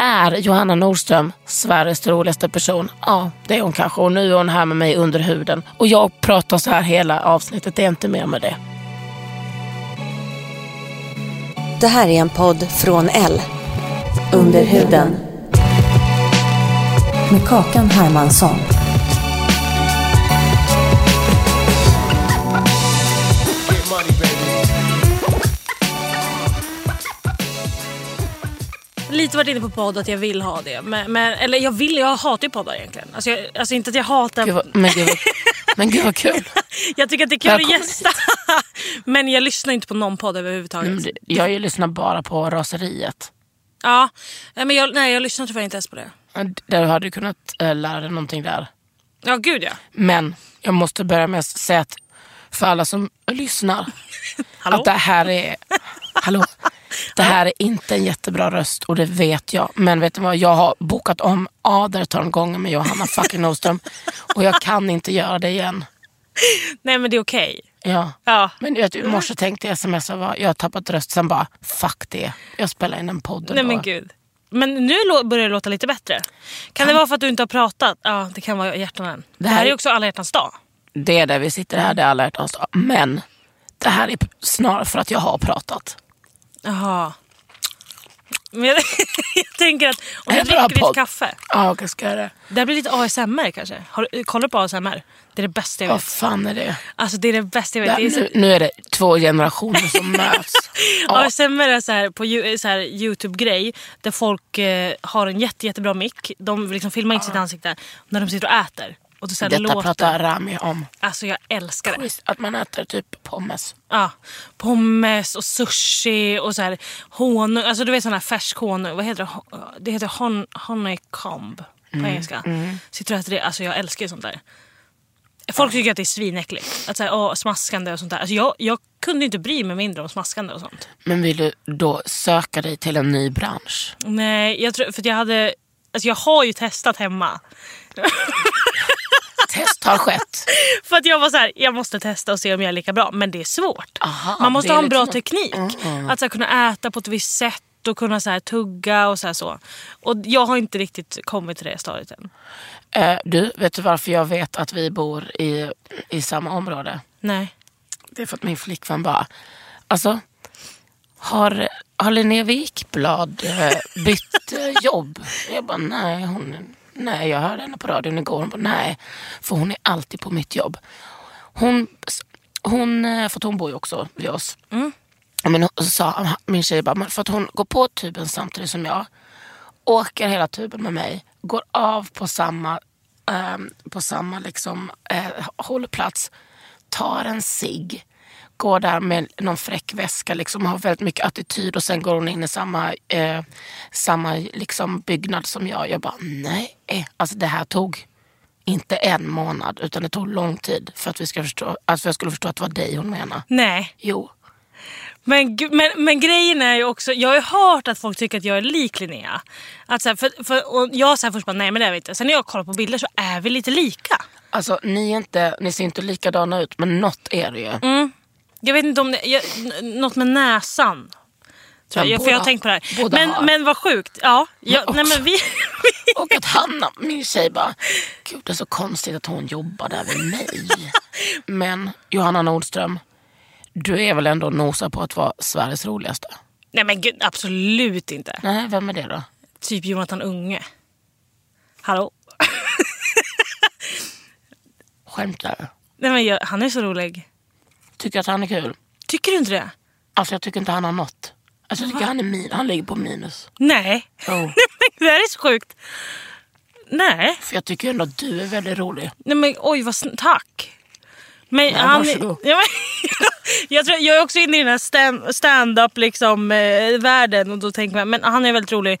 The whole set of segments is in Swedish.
Är Johanna Nordström Sveriges roligaste person? Ja, det är hon kanske. Och nu är hon här med mig under huden. Och jag pratar så här hela avsnittet. Det är inte mer med det. Det här är en podd från L. Under huden. Med Kakan Hermansson. lite varit inne på podd att jag vill ha det. Men, men, eller jag vill, jag hatar ju poddar egentligen. Alltså, jag, alltså inte att jag hatar, Gud, vad- men, gud, vad- men gud vad kul. jag tycker att det är kul Välkommen att gästa. men jag lyssnar inte på någon podd överhuvudtaget. Men det- Jag ju lyssnar bara på Raseriet. Ja, Nej, men jag, nej jag lyssnar tyvärr inte ens på det. Där har du kunnat eh, lära dig någonting där. Ja gud ja. Men jag måste börja med att säga att för alla som lyssnar Hallå? att det här är... Hallå? Det här är inte en jättebra röst och det vet jag. Men vet du vad? Jag har bokat om aderton gånger med Johanna fucking Nordström och jag kan inte göra det igen. Nej men det är okej. Ja. Ja. Men du vet, Mm. i morse tänkte jag sms och bara, jag har tappat rösten. Bara, fuck det. Jag spelar in en podd Nej ändå. men gud. Men nu lå- börjar det låta lite bättre. Kan det vara för att du inte har pratat? Ja, det kan vara hjärtan än. Det här är ju också alla hjärtans dag. Det är där vi sitter här, det är alla hjärtans dag. Men det här är p- snarare för att jag har pratat. Jaha. Men jag, jag tänker att om En du bra dricker ditt podd. kaffe. Ja, okej, ska jag göra det? Det här blir lite ASMR kanske. Har, du- kollar du på ASMR? Det är det bästa jag Vad vet. fan är det? Alltså det är det bästa jag vet. Där, Det är så, nu, nu är det två generationer som möts. Ja, ASMR är så här, på ju- så här Youtube-grej där folk eh, har en jätte, jättebra mick. De liksom filmar inte sitt ansikte när de sitter och äter. Och då så här detta låter. pratar Rami om. Alltså jag älskar det. Visst, Att man äter typ pommes. Ja, pommes och sushi och så här honung. Alltså du vet sån här färsk honung. Vad heter det? Ho- Det heter hon, honeycomb på engelska. Sitter du och äter det? Alltså jag älskar ju sånt där. Folk tycker att det är svinäckligt. Att så här, åh, smaskande och sånt där. Alltså jag, jag kunde ju inte bry mig mindre om smaskande och sånt. Men vill du då söka dig till en ny bransch? Nej, jag tror, för att jag hade... Alltså jag har ju testat hemma. Test har skett. För att jag var så här, jag måste testa och se om jag är lika bra. Men det är svårt. Aha, Man måste det är ha en bra liksom- teknik. Att så här, kunna äta på ett visst sätt och kunna så här, tugga och så, här, så. Och jag har inte riktigt kommit till det stadiet än. Eh, du, vet du varför jag vet att vi bor i, i samma område? Nej. Det är för att min flickvän bara, alltså har, har Linnea Wikblad eh, bytt eh, jobb? Jag bara, nej, hon, nej, jag hörde henne på radion igår. Hon bara, nej, för hon är alltid på mitt jobb. Hon, hon eh, för att hon bor ju också vid oss. Men hon, så sa min tjej, bara, "Men för att hon går på tuben samtidigt som jag, åker hela tuben med mig, går av på samma, ehm, på samma liksom, eh, hållplats, tar en cigg, går där med någon fräck väska, liksom, har väldigt mycket attityd och sen går hon in i samma, eh, samma liksom, byggnad som jag. Jag bara, nej, alltså det här tog inte en månad utan det tog lång tid för att vi ska förstå, alltså jag skulle förstå att det var dig hon menar. Nej. Jo. Men, gu- men, men grejen är ju också, jag har ju hört att folk tycker att jag är lik Linnea. Att så här, för, för, och jag sa först bara nej men det är vi inte. Sen när jag kollar på bilder så är vi lite lika. Alltså ni, är inte, ni ser inte likadana ut men något är det ju. Mm. Jag vet inte om det... Jag, n- något med näsan. Tror Ja, jag, för båda- jag har tänkt på det här. båda har. Men, men vad sjukt. Ja, jag, Men nej, också- men vi, Och att Hanna, min tjej bara, gud det är så konstigt att hon jobbar där med mig. Men Johanna Nordström, du är väl ändå och nosar på att vara Sveriges roligaste? Nej men gud, absolut inte. Nej, vem är det då? Typ Jonathan Unge. Hallå? Skämtar du? Nej, men jag, han är så rolig. Tycker att han är kul? Tycker du inte det? Alltså jag tycker inte han har något. Alltså jag tycker han är min, han ligger på minus. Nej. Jo. Nej, men det här är så sjukt. Nej. För jag tycker ändå att du är väldigt rolig. Nej men oj, vad sn- tack. Men han, varsågod. ja, men, jag, tror, jag är också inne i den här stan- stand-up liksom, eh, världen och då tänker man, men han är väldigt rolig.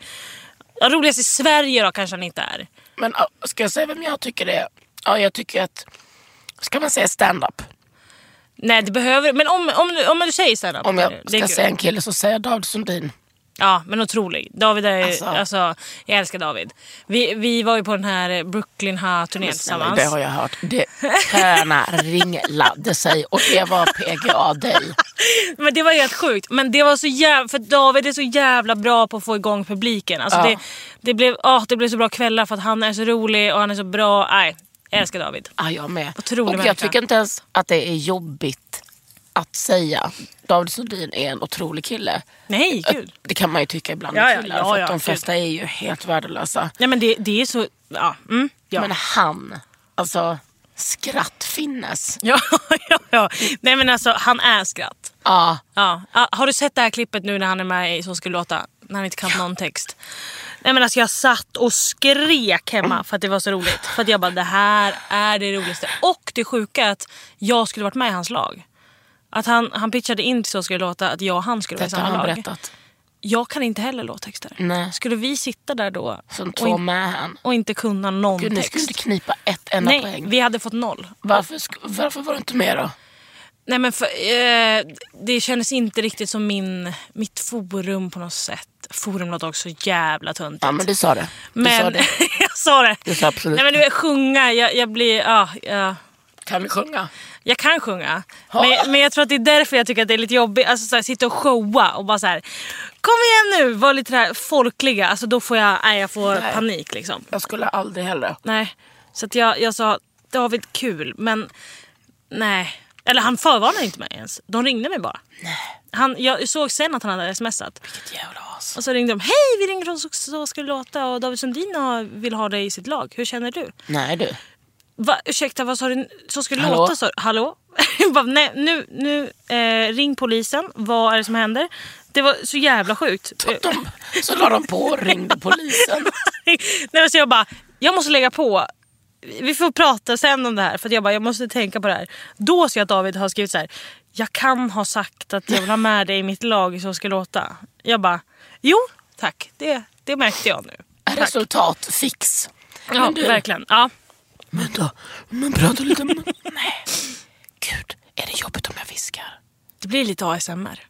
Ja, Roligast i Sverige då kanske han inte är. Men ja, ska jag säga vem jag tycker det är? Ja, jag tycker att... Ska man säga stand-up? Nej det behöver men om, om, du- om du säger stand-up. Om det är jag ska kul. säga en kille så säger jag David Sundin. Ja, men otrolig. David är, Alltså. alltså. jag älskar David. Vi, vi var ju på den här eh, Brooklyn Snälla, Ha-turnén tillsammans. Det har jag hört. Det träna ringladde sig och det var PGA dig. Men det var helt sjukt. Men det var så jävla, för David är så jävla bra på att få igång publiken. Alltså Ja. det, det, blev, ah, det blev så bra kvällar för att han är så rolig och han är så bra. Nej, jag älskar David. Ja, jag med. Otrolig och jag människa. tycker inte ens att det är jobbigt att säga. David Sundin är en otrolig kille. Nej, gud. Det kan man ju tycka ibland Ja, ja, med killar. ja, för att ja, de gud. flesta är ju helt värdelösa. Nej men det, det är så... Ja. Mm, ja. Men han, alltså skrattfinnes. ja, ja, ja. Nej men alltså, han är skratt. Ja, Ja. Ah, Har du sett det här klippet nu när han är med i Så skulle det låta? När han inte kan någon text. Nej men alltså jag satt och skrek hemma för att det var så roligt. För att jag bara det här är det roligaste. Och det sjuka är att jag skulle varit med i hans lag. Att han, han pitchade in till Så skulle det låta att jag och han skulle vara i detta har samma han lag. berättat. Jag kan inte heller låttexter. Nej. Skulle vi sitta där då Som och, två in, med han. och inte kunna någon Gud, ni skulle text? inte knipa ett enda Nej, poäng. vi hade fått noll. Varför, sk- varför var du inte med då? Nej men för, eh, det kändes inte riktigt som min, mitt forum på något sätt. Forum låter också jävla töntigt. Ja, men du sa det. Du Men- sa det. jag sa det. Du sa absolut Nej men du vet, sjunga, jag, jag blir... Ja, ja. Kan du sjunga? Jag kan sjunga. Men, men jag tror att det är därför jag tycker att det är lite jobbigt. Alltså så här, sitta och showa och bara så här. Kom igen nu, var lite här folkliga. Alltså då får jag, nej, jag får Nej. panik liksom. Jag skulle aldrig heller. Nej. Så att jag, jag sa, David kul, men nej. Eller han förvarnade inte mig ens. De ringde mig bara. Han, jag såg sen att han hade smsat. Vilket jävla as. Och så ringde de. Hej, vi ringer från Så- Så ska det låta och David Sundin har- vill ha dig i sitt lag. Hur känner du? Nej du. Va, ursäkta, vad sa du? Så ska det Hallå? låta? Sa, du. hallå? Jag bara, nej, nu nu eh, ring polisen. Vad är det som händer? Det var så jävla sjukt. De, så la de på och ringde polisen. Nej, men så jag bara, jag måste lägga på. Vi får prata sen om det här för att jag bara, jag måste tänka på det här. Då ser jag att David har skrivit så här. Jag kan ha sagt att jag vill ha med dig i mitt lag så ska det låta. Jag bara, jo tack, det, det märkte jag nu. Resultat fix. Ja, du- verkligen. Ja. Men då, men prata lite om... Nej. Gud, är det jobbigt om jag viskar? Det blir lite ASMR.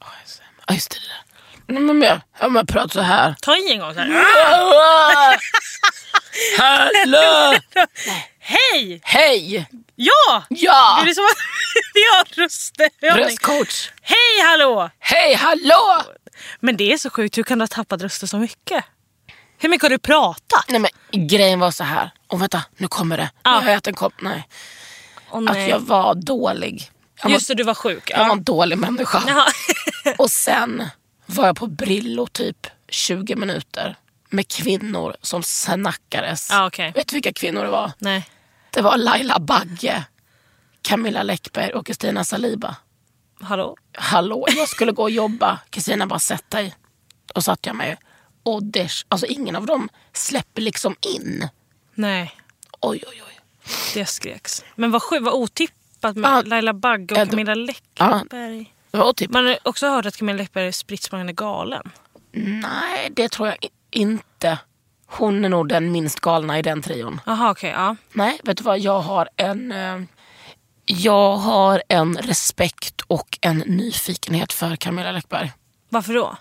Ja, just det. det där. Nej, men jag, ja, men jag pratar så här. Ta i en gång så här. Hallå! Hej! Hej! Ja! Ja! Det är som att vi har röstövning. Röstcoach. Hej hallå! Hej, hallå! Men det är så sjukt, hur kan du ha tappat rösten så mycket? Hur mycket har du pratat? Ah, Nej men grejen var så här. Och vänta, nu kommer det. Nu Ja. har jag ätit en kopp. Nej. Åh, Att nej. jag var dålig. Jag var, Just det, du var sjuk. jag var Ja. en dålig människa. Jaha. Och sen var jag på Brillo typ 20 minuter med kvinnor som snackades. Ja, okej. Vet du vilka kvinnor det var? nej. Det var Laila Bagge, Camilla Läckberg och Kristina Saliba. Hallå? Hallå, jag skulle gå och jobba. Kristina bara sätt dig. Och satt jag mig. Och desh, alltså ingen av dem släpper liksom in. Nej, Oj, oj, oj. det skreks. Men vad sjukt, vad otippat med Ja. Laila Bagge och Ja, då- Camilla Läckberg. Det var typ, Man har också hört att Camilla Läckberg är spritt språngande galen. nej det tror jag i- inte. Hon är nog den minst galna i den trion. Jaha, okej. ja. Nej, vet du vad? Jag har en, eh, jag har en respekt och en nyfikenhet för Camilla Läckberg. Varför då?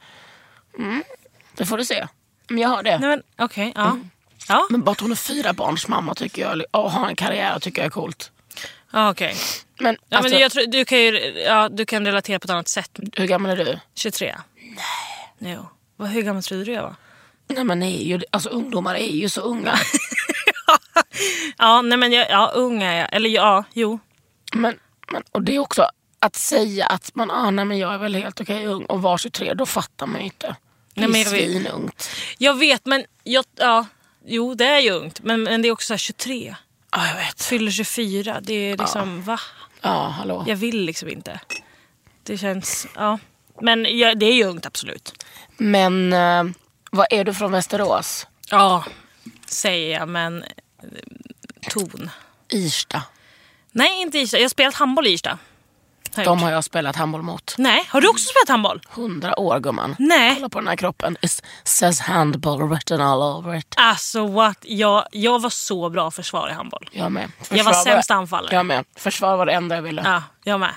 Det får du se. Men jag har det. Nej, men okej. ja. Ja, Mm. Men bara att hon är fyra barns mamma tycker jag, och har en karriär tycker jag är coolt. ja okej. Men, Ja, alltså, men jag tror, du, kan ju, ja, du kan relatera på ett annat sätt. hur gammal är du? 23? Nej. Jo. Vad, hur gammal trodde du jag var? Nej, men ni är ju, alltså, ungdomar är ju så unga. Ja, nej men jag, ja, ung är jag. Eller ja, jo. men, men, och det är också att säga att man ah, nej, men jag är väl helt okej ung och var 23 då fattar man ju inte. Det är Nej, men jag vet. svinungt. Jag vet men, jag, ja, jo det är ju ungt men, men det är också så här 23, Ja jag vet. fyller 24, det är liksom va? Ja hallå. Jag vill liksom inte. Det känns, ja. Men ja, det är ju ungt absolut. Men eh, vad är du från Västerås? Ja, säger jag men eh, ton. Irsta. Nej inte Irsta, jag har spelat handboll i Irsta. Har jag De gjort. har jag spelat handboll mot. Nej, har du också spelat handboll? 100 år gumman. Nej. Kolla på den här kroppen. It says handball written all over it. Alltså what, jag, jag var så bra försvar i handboll. Jag med. Jag var sämst anfallare. Jag med. Försvar var det enda jag ville. Ja, jag med.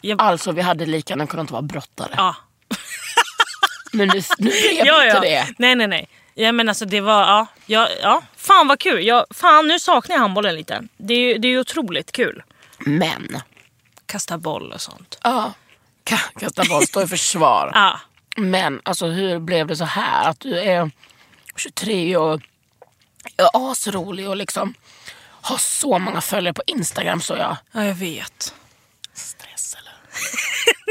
Jag, Alltså vi hade lika, den kunde inte vara brottare. ja. Men nu, nu blev ja, inte ja. det. Nej, nej, nej. Ja, men alltså det var, ja, ja, ja. Fan vad kul. Jag, fan nu saknar jag handbollen lite. Det är ju det är ju otroligt kul. Men. Kasta boll och sånt. Ja. Ka- Kasta boll, stå i försvar. Ja. Men alltså hur blev det så här? Att du är 23 och är asrolig och liksom har så många följare på Instagram så jag. ja, jag vet. Stress eller?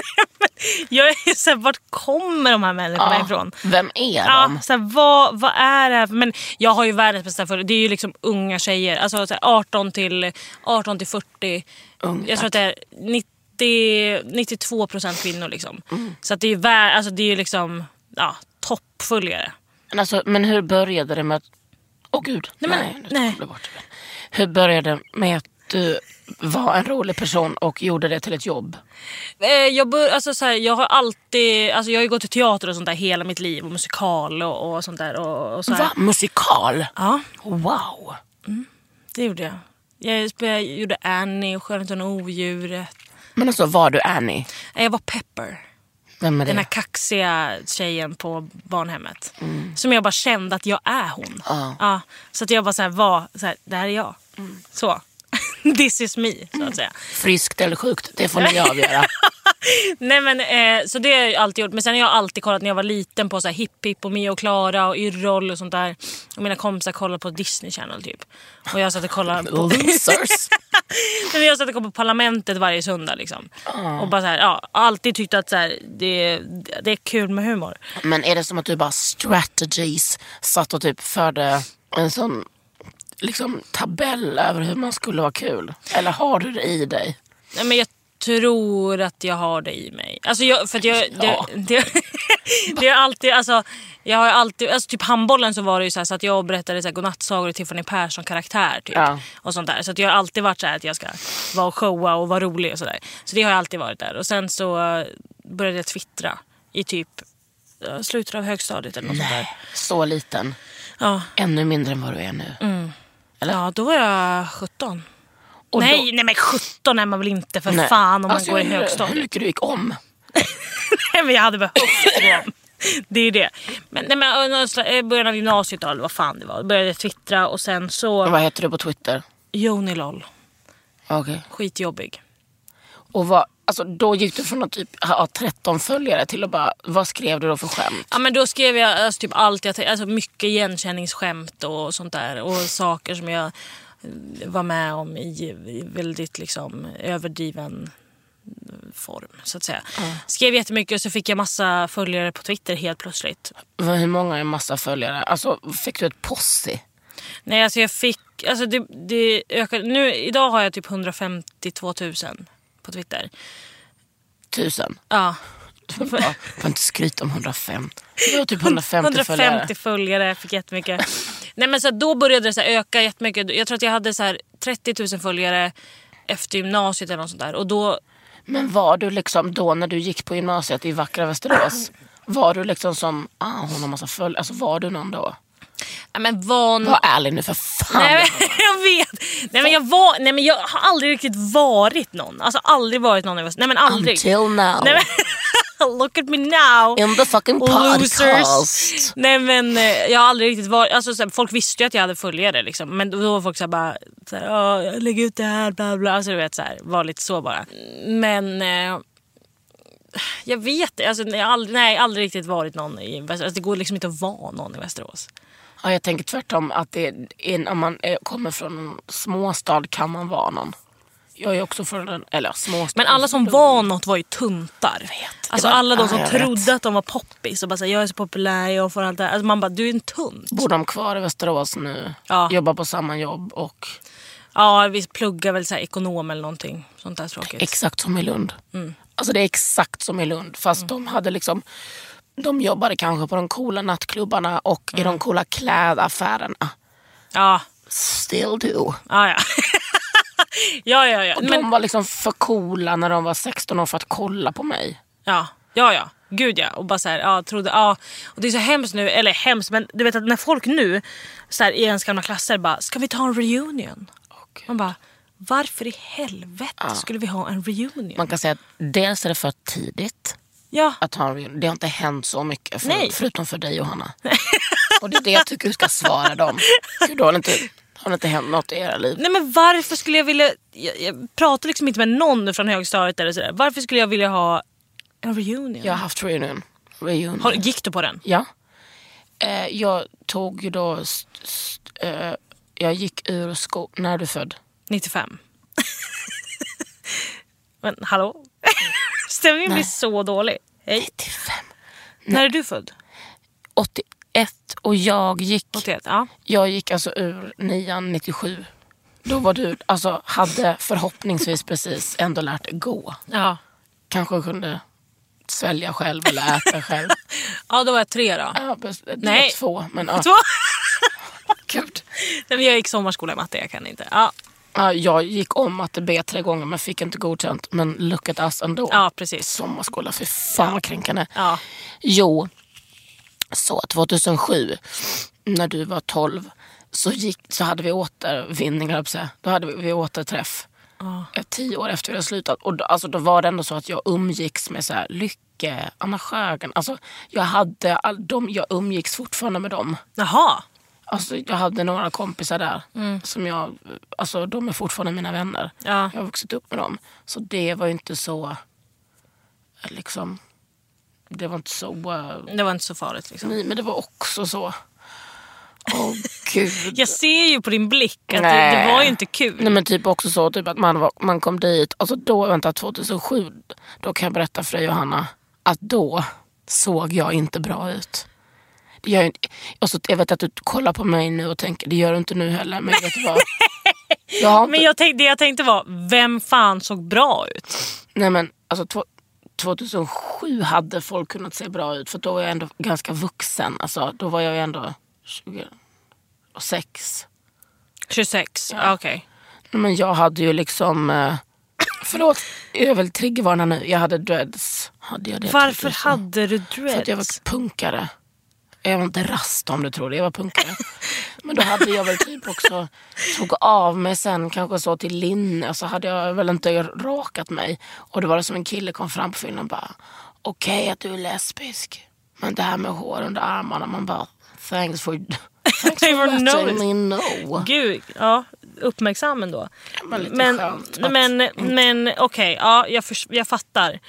Jag är såhär, vart kommer de här människorna ifrån? Vem är Ja, de? såhär, vad, vad är det här för... Men jag har ju världens bästa följare. Det är ju liksom unga tjejer. Alltså såhär, 18, till, 18 till 40. Unga. Jag tror att det är 90, 92 procent kvinnor. Liksom. Mm. Så att det är ju vär, alltså, det är ju liksom ja, toppföljare. Men, alltså, men hur började det med att... Åh gud, nej, men- nej, nej. nu tog jag bort det. Hur började det med att du var en rolig person och gjorde det till ett jobb? Eh, jag, bör, alltså, så här, jag har alltid alltså, jag har ju gått i teater och sånt där hela mitt liv och musikal och, och sånt där. Och, och så här. Va? Musikal? Ja, Wow! det gjorde jag. Jag, spe- jag gjorde Annie och Skönheten och odjuret. Men alltså var du Annie? Nej, Jag var Pepper. Vem är det? Den här kaxiga tjejen på barnhemmet. Som jag bara kände att jag är hon. Mm. Ja. Mm. Ja, så att jag bara så här, var, så här, det här är jag. Så. This is me, så att säga. Friskt eller sjukt, det får ni avgöra. Nej men eh, så det har jag ju alltid gjort. Men sen har jag alltid kollat när jag var liten på så här Hipp Hipp och Mia och Klara och Yrrol och sånt där. Och mina kompisar kollade på Disney Channel typ. Och jag satt och kollade på... Losers! Nej, men jag satt och kollade på Parlamentet varje söndag liksom. Och bara så här, ja, alltid tyckt att så här, det, det är kul med humor. Men är det som att du bara strategies satt och typ förde en sån liksom tabell över hur man skulle vara kul? Eller har du det i dig? Nej, men jag tror att jag har det i mig. Alltså jag, för att jag, Ja. det, det, det är alltid, alltså, jag har ju alltid, alltså typ handbollen så var det ju så, här, så att jag berättade så här, godnattsagor till Tiffany Persson karaktär typ. Ja. Och sånt där. Så att jag har alltid varit så här att jag ska vara och showa och vara rolig och sådär. Så det har jag alltid varit där. Och sen så eh, började jag twittra i typ eh, slutet av högstadiet eller något sånt där. Så liten. Ja. Ännu mindre än vad du är nu. Mm. ja, då var jag 17. Och då- nej, nej men 17 är man väl inte för Nej. fan om man Alltså, går i hur- högstadiet. Hur mycket du gick om. Nej, men jag hade behövt det. Det är ju det. Men, nej, men, ö, någon slags- i början av gymnasiet då, eller vad fan det var. Då började jag twittra och sen så... Vad heter du på Twitter? Jonilol. Okej. Skitjobbig. Och vad, alltså, då gick du från att typ ha 13 följare till att bara, vad skrev du då för skämt? Ja, men då skrev jag alltså, typ allt. Jag, tänkte- alltså, mycket igenkänningsskämt och sånt där. Och saker som jag eh, var med om i i väldigt liksom, överdriven eh, form. Så att säga. Skrev jättemycket och så fick jag massa följare på Twitter helt plötsligt. Vad- Hur många är en massa följare? Alltså, fick du ett posse? Nej, alltså jag fick... Alltså det, det ökade. Nu, idag har jag typ 152 000 på Twitter. Tusen? Ja. Du bara, får inte skryta om 150. Du har typ 150, 150 följare. följare, fick jättemycket. Nej, men så här, då började det så här öka jättemycket. Jag tror att jag hade så här 30 000 följare efter gymnasiet eller något sånt där. Och då, Men var du liksom då när du gick på gymnasiet i vackra Västerås, var du liksom som, ah hon har massa följare, alltså var du någon då? ja, men var nå- Var ärlig nu för fan. Mm. Nej, men, jag vet! Nej, men jag, var, nej, men jag har aldrig riktigt varit någon. Alltså aldrig varit någon. i Väst- Nej men aldrig. Until now. Nej, men, look at me now! In the fucking podcast. Losers. Nej men eh, jag har aldrig riktigt varit, alltså, såhär, folk visste ju att jag hade följare liksom. Men då då var folk såhär bara, såhär, "Ja, jag lägger ut det här bla bla. Alltså du vet såhär, var lite så bara. Men eh, jag vet alltså, jag har aldrig, nej, jag har aldrig riktigt varit någon i Västerås. Alltså, det går liksom inte att vara någon i Västerås. Ja, jag tänker tvärtom att det är, in- om man eh, kommer från en småstad kan man vara någon. Jag är också från den, eller småstad. Men alla som var något var ju tuntar. Alltså Mm. Det var- alla de som ja, jag trodde vet. att de var poppis och bara såhär, jag är så populär, jag får allt det här. Alltså man bara, du är en tunt. Bor de kvar i Västerås nu? Ja. Jobbar på samma jobb och Ja, vi pluggar väl såhär ekonom eller någonting sånt där tråkigt. exakt som i Lund. Mm. Alltså det är exakt som i Lund fast de hade liksom de jobbade kanske på de coola nattklubbarna och Mm. i de coola klädaffärerna. ja, Still do. ja, ja. ja, ja, ja. Och Men, de var liksom för coola när de var 16 år för att kolla på mig. ja, ja, ja. Gud ja. Och bara såhär, ja, trodde, ja. Och det är så hemskt nu, eller hemskt, men du vet att när folk nu så här, i ens gamla klasser bara, ska vi ta en reunion? Man bara, varför i helvete skulle vi ha en reunion? Man kan säga att dels är det för tidigt ja. att ha en reunion. Det har inte hänt så mycket för, Nej. förutom för dig och Hanna. och det är det jag tycker du ska svara dem. För då har det inte, har det inte hänt något i era liv. Nej men varför skulle jag vilja... Jag, jag pratar liksom inte med någon från högstadiet eller sådär. Varför skulle jag vilja ha en reunion? Jag har haft reunion. reunion. Har, gick du på den? Ja. Eh, jag tog ju då... St, st, eh, jag gick ur skolan... När är du född? 95? men hallå? Stämningen blir så dålig. Hej. 95. När är du född? 81. Och jag gick... 81? Ja. Jag gick alltså ur nian 97. Då var du... Alltså hade förhoppningsvis precis ändå lärt dig gå. ja. Kanske kunde svälja själv eller äta själv. Ja, då var jag tre då. Ja, precis. det Nej. var två. Men, ja. Två. Gud. Nej, men jag gick sommarskola i matte, jag kan inte. Ja, Ja, jag gick om matte B tre gånger men fick inte godkänt. Men look at us ändå. ja precis. Sommarskola, för fan vad kränkande. Ja. Jo, så 2007 när du var 12 så, gick, så hade vi återvinning, höll jag på att säga. då hade vi, vi återträff. Eh, Tio år efter vi hade slutat. Och då, alltså, då var det ändå så att jag umgicks med så här, Lycke, Anna Sjögren. Alltså, jag, hade all, de, jag umgicks fortfarande med dem. Jaha. Alltså, jag hade några kompisar där. Som jag, alltså, de är fortfarande mina vänner. Ja. Jag har vuxit upp med dem. Så det var ju inte så... eh, Liksom, det var inte så... eh, Det var inte så farligt liksom. Nej, men det var också så... Åh gud. Jag ser ju på din blick att det, Nej. det var ju inte kul. Nej, men typ också så typ att man, var, man kom dit. Alltså då, vänta, 2007. Då kan jag berätta för dig Johanna. Att då såg jag inte bra ut. Det gör jag, inte, alltså, jag vet att du kollar på mig nu och tänker, det gör du inte nu heller. Men vet du vad? Jag har inte, Men jag tänkte, det jag tänkte var, vem fan såg bra ut? Nej men alltså två, 2007 hade folk kunnat se bra ut för då var jag ändå ganska vuxen. Alltså, då var jag ju ändå 26. 26, ja. okej. Nej, Men jag hade ju liksom... Eh, förlåt, jag är väl triggervarna nu. Jag hade dreads. Hade jag det Varför 2000? hade du För att jag var dreads? punkare. Jag var inte rast om du tror det. Jag var punkare. Men då hade jag väl typ också tog av mig sen kanske så till linne så hade jag väl inte rakat mig. Och det var det som en kille kom fram på filmen och bara okej att du är lesbisk. Men det här med hår under armarna man bara thanks for, thanks They for were letting noticed. me know. Gud, ja, uppmärksam ändå. men lite Men, skönt att- men, men okej, ja, jag, förs- jag fattar.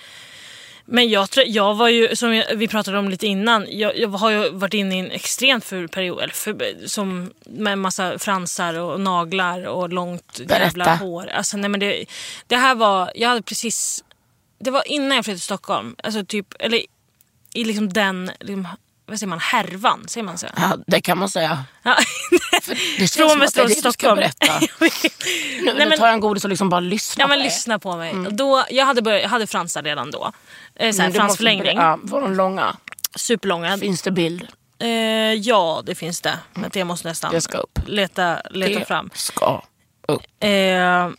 Men jag, tror, jag var ju, som jag, vi pratade om lite innan, jag, jag har ju varit inne i en extremt ful period. Eller ful, som, med en massa fransar och naglar och långt jävla Berätta. hår. Alltså, nej, men det, det här var, jag hade precis, det var innan jag flyttade till Stockholm. Alltså typ, eller i liksom den, liksom, vad säger man, härvan? Säger man så? Ja, det kan man säga. Ja. Det känns Från som att det är Västerås det till du ska Stockholm. berätta. Nu, Nej, nu men- tar jag en godis och liksom bara lyssnar Ja men på dig. lyssna på mig. Då, jag, hade börjat, jag hade fransar redan då. Men Eh, såhär, Mm, du måste fransförlängning. ber- Ja, var de långa? Superlånga. Finns det bild? Eh, ja det finns det. Men det måste nästan Det ska upp. leta, leta fram. ska upp. Eh,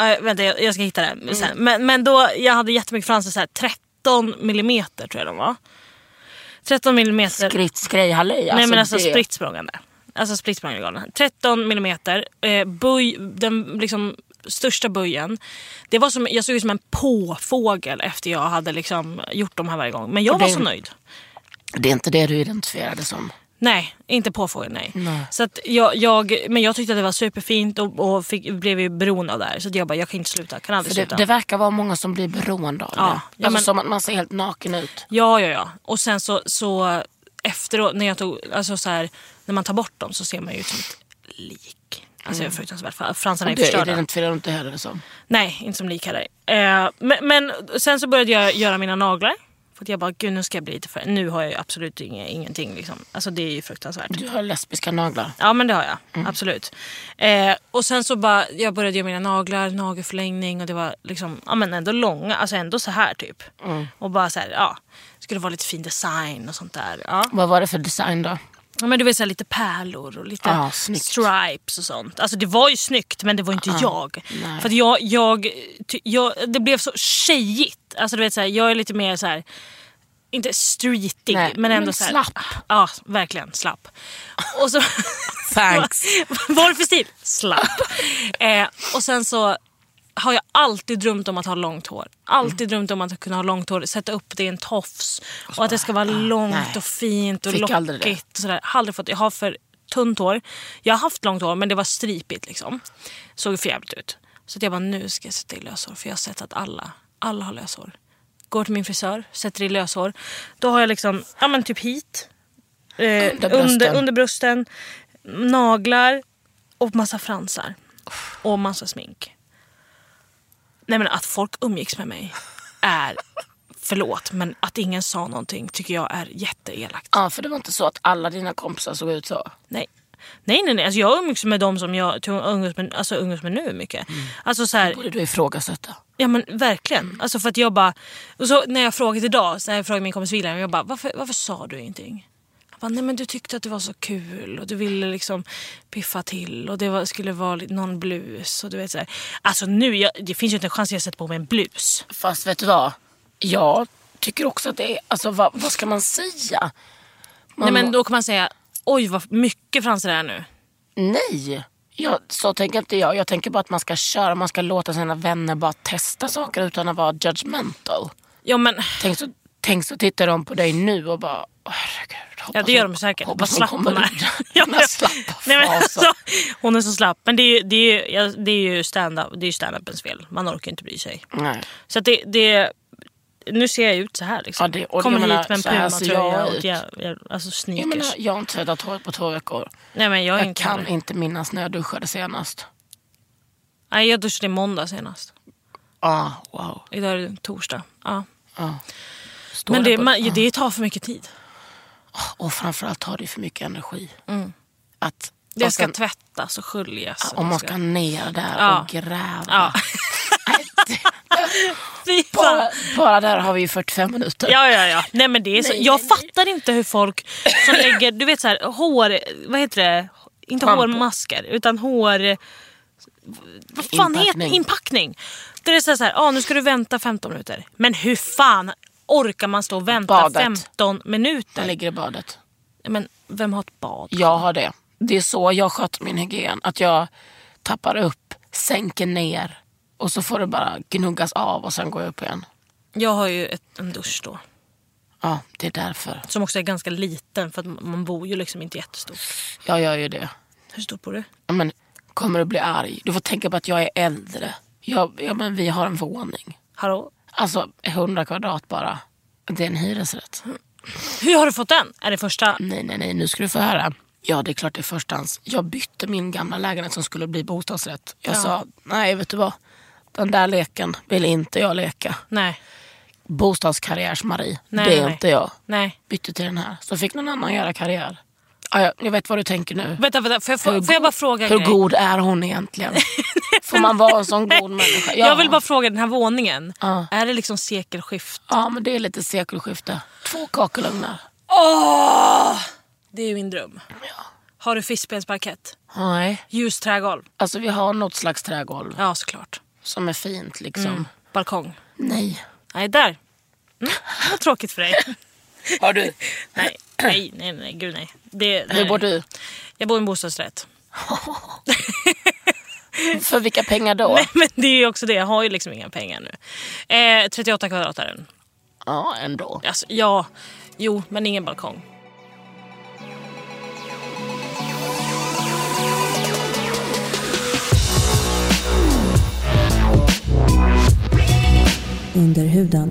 eh, vänta jag, jag ska hitta Mm. det sen. Men, men då, jag hade jättemycket fransar. Såhär, 13 millimeter tror jag de var. 13 millimeter. Skritt, skrej, hallej. Nej men alltså det- spritt språngande. Alltså spritt språngande galna. 13 millimeter. Eh, böj, den liksom största böjen. Det var som, jag såg ut som en påfågel efter jag hade liksom gjort de här varje gång. Men jag var det- så nöjd. Det är inte det du identifierade som. Nej, inte påfågel nej. Så att jag, jag, men jag tyckte att det var superfint och, och fick, blev ju beroende av det här. Så att jag bara, jag kan inte sluta. Kan aldrig För det, sluta. det verkar vara många som blir beroende av det. Ja, ja, alltså men- som att man ser helt naken ut. Ja, ja, ja. Och sen så, så efteråt, när jag tog, alltså så här, när man tar bort dem så ser man ju ut som ett lik. Alltså Mm. jag är fruktansvärt för fransarna är Du förstörda. identifierar dig inte heller som. Nej, inte som likare. Eh, men, men sen så började jag göra mina naglar. För att jag bara, gud nu ska jag bli lite för... Nu har jag ju absolut inge, ingenting liksom. Alltså det är ju fruktansvärt. Du har Mm. lesbiska naglar. Ja men det har jag, absolut. Eh, och sen så bara, jag började göra mina naglar, nagelförlängning och det var liksom, ja men ändå långa, alltså ändå så här typ. Mm. Och bara så här, ja. Skulle vara lite fin design och sånt där. Ja. Vad var det för design då? Ja, men du vet, så här, lite pärlor och lite Ah, snyggt. stripes och sånt. Alltså det var ju snyggt men det var ju inte jag. För att jag, jag, ty- jag... Det blev så tjejigt. Alltså du vet så här, jag är lite mer så här... Inte streetig Nej, men ändå men så här, slapp. Ja, verkligen slapp. Och så, Thanks. Vad var det för stil? Slapp. Eh, och sen så har jag alltid drömt om att ha långt hår. Mm. Alltid drömt om att kunna ha långt hår, sätta upp det i en tofs. Och, att det ska vara långt ah, nej. och fint och Fick aldrig det. lockigt. Och sådär. Har aldrig fått, jag har för tunt hår. Jag har haft långt hår men det var stripigt liksom. Såg för jävligt ut. Så att jag bara, nu ska jag sätta i löshår. För jag har sett att alla, alla har löshår. Går till min frisör, sätter i löshår. Då har jag liksom, ja men typ hit. Eh, under, brösten. under, brösten. Naglar. Och massa fransar. Och massa smink. Nej men att folk umgicks med mig är, förlåt, men att ingen sa någonting tycker jag är jätteelakt. Ja, för det var inte så att alla dina kompisar såg ut så. Nej. Nej, nej, nej. Alltså, jag umgås med dem som jag tog- umgås med, alltså, umgås med nu mycket. Alltså så här, Borde du ifrågasätta. ja men verkligen. Mm. Alltså för att jag bara, och så när jag frågat idag, så när jag frågade min kompis William, jag bara, varför, varför sa du ingenting? Han bara, nej men du tyckte att det var så kul och du ville liksom piffa till och det var, skulle vara li- någon blus och du vet så här. Alltså nu, jag, det finns ju inte en chans att jag sätter på mig en blus. Fast vet du vad? Jag tycker också att det är... Alltså vad, vad ska man säga? Man, Nej men då kan man säga, oj vad mycket fransar det är nu. Nej! Jag, så tänker inte jag. Jag tänker bara att man ska köra, man ska låta sina vänner bara testa saker utan att vara judgmental. Ja men, Tänk så, tänk så tittar de på dig nu och bara, åh, herregud. hoppas ja det gör hon- de säkert. Vad Hoppas hon slapp kommer hon är. ur Ja, den här slappa Nej, men fasen. alltså, hon är så slapp. Men det är ju, det är ju, ja, det är ju stand-up- det är ju stand-upens fel. Man orkar inte bry sig. Nej. Så att det, det, nu ser jag ut så här liksom. Ja, det- och jag Kommer menar, hit med en så här ser pumatröja jag och ut. jag, jag, alltså sneakers. Jag, menar, jag har inte tvättat håret på två veckor. Nej men jag är Jag inte kan inte minnas när jag duschade senast. Nej jag duschade i måndag senast. Ah, wow. Idag är det torsdag. Ja. Står Men det, på- Ah. man, det tar för mycket tid. Och framförallt har det för mycket energi. Att Mm. Det man ska tvättas och sköljas. och om det man ska ner där Ja. och gräva. Ja. Nej, det- Fy fan. bara, bara där har vi ju 45 minuter. Ja, ja, ja. Nej, men det är så. Nej, jag nej, fattar inte hur folk som lägger du vet så här, hår... Vad heter det? Inte Schampo. hårmasker, utan hår... Vad fan Inpackning. heter det? Inpackning. Där det är så här, så här ah, nu ska du vänta 15 minuter. Men hur fan orkar man stå och vänta Badet. 15 minuter? Jag ligger i badet. Men vem har ett bad? Jag har det. Det är så jag sköter min hygien. Att jag tappar upp, sänker ner och så får det bara gnuggas av och sen går jag upp igen. Jag har ju ett, en dusch då. Ja, det är därför. Som också är ganska liten för att man- man bor ju liksom inte jättestort. Jag gör ju det. Hur stort bor du? Ja, Men, kommer du bli arg? Du får tänka på att jag är äldre. Jag, ja, men vi har en våning. Hallå? Alltså 100 kvadrat bara. Det är en hyresrätt. Hur har du fått den? Är det första? Nej, nej, nej, nu ska du få höra. Ja, det är klart det är förstahands. Jag bytte min gamla lägenhet som skulle bli bostadsrätt. Jag sa, nej vet du vad. Den där leken vill inte jag leka. Nej. Bostadskarriärs-Marie, Nej, det är nej. inte jag. Nej. Bytte till den här, så fick någon annan göra karriär. Ja, jag, jag vet vad du tänker nu. Vänta, vänta får, jag, Hur får, får jag go- bara fråga en Hur grej? god är hon egentligen? Får man vara en sån god människa? Ja. Jag vill bara fråga den här våningen. Ja. Är det liksom sekelskift? Ja, men det är lite sekelskifte. Två kakelugnar. Det är ju min dröm. Har du fiskbensparkett? Nej. Ljust trägolv? Alltså vi har något slags trägolv Ja, såklart. som är fint liksom. Mm. Balkong? Nej. Nej, där. Mm. Vad tråkigt för dig. Har du? nej, nej, nej, nej, gud nej. Det, nej. Hur bor du? Jag bor i en bostadsrätt. För vilka pengar då? Nej, men det är ju också det. Jag har ju liksom inga pengar nu. Eh, 38 kvadrat är den. Ja, ändå. Alltså, ja, jo, men ingen balkong. Under huden.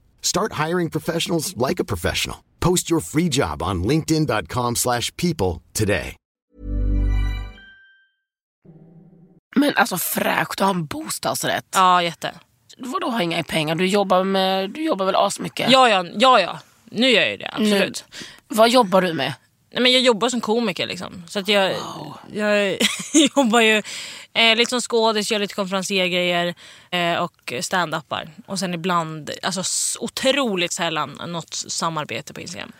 Start hiring professionals like a professional. Post your free job on linkedin.com/people slash people today. Men alltså fräscht att ha en bostadsrätt. Ja, jätte. Vadå ha inga pengar? Du jobbar, med, du jobbar väl asmycket? Ja, ja, ja, ja. Nu gör jag ju det, absolut. Vad jobbar du med? Nej, men jag jobbar som komiker liksom. Så att jag, jag jobbar ju eh, lite som skådis, gör lite konferenciergrejer eh, och stand-upar. Och sen ibland, alltså s- otroligt sällan, något samarbete på Instagram.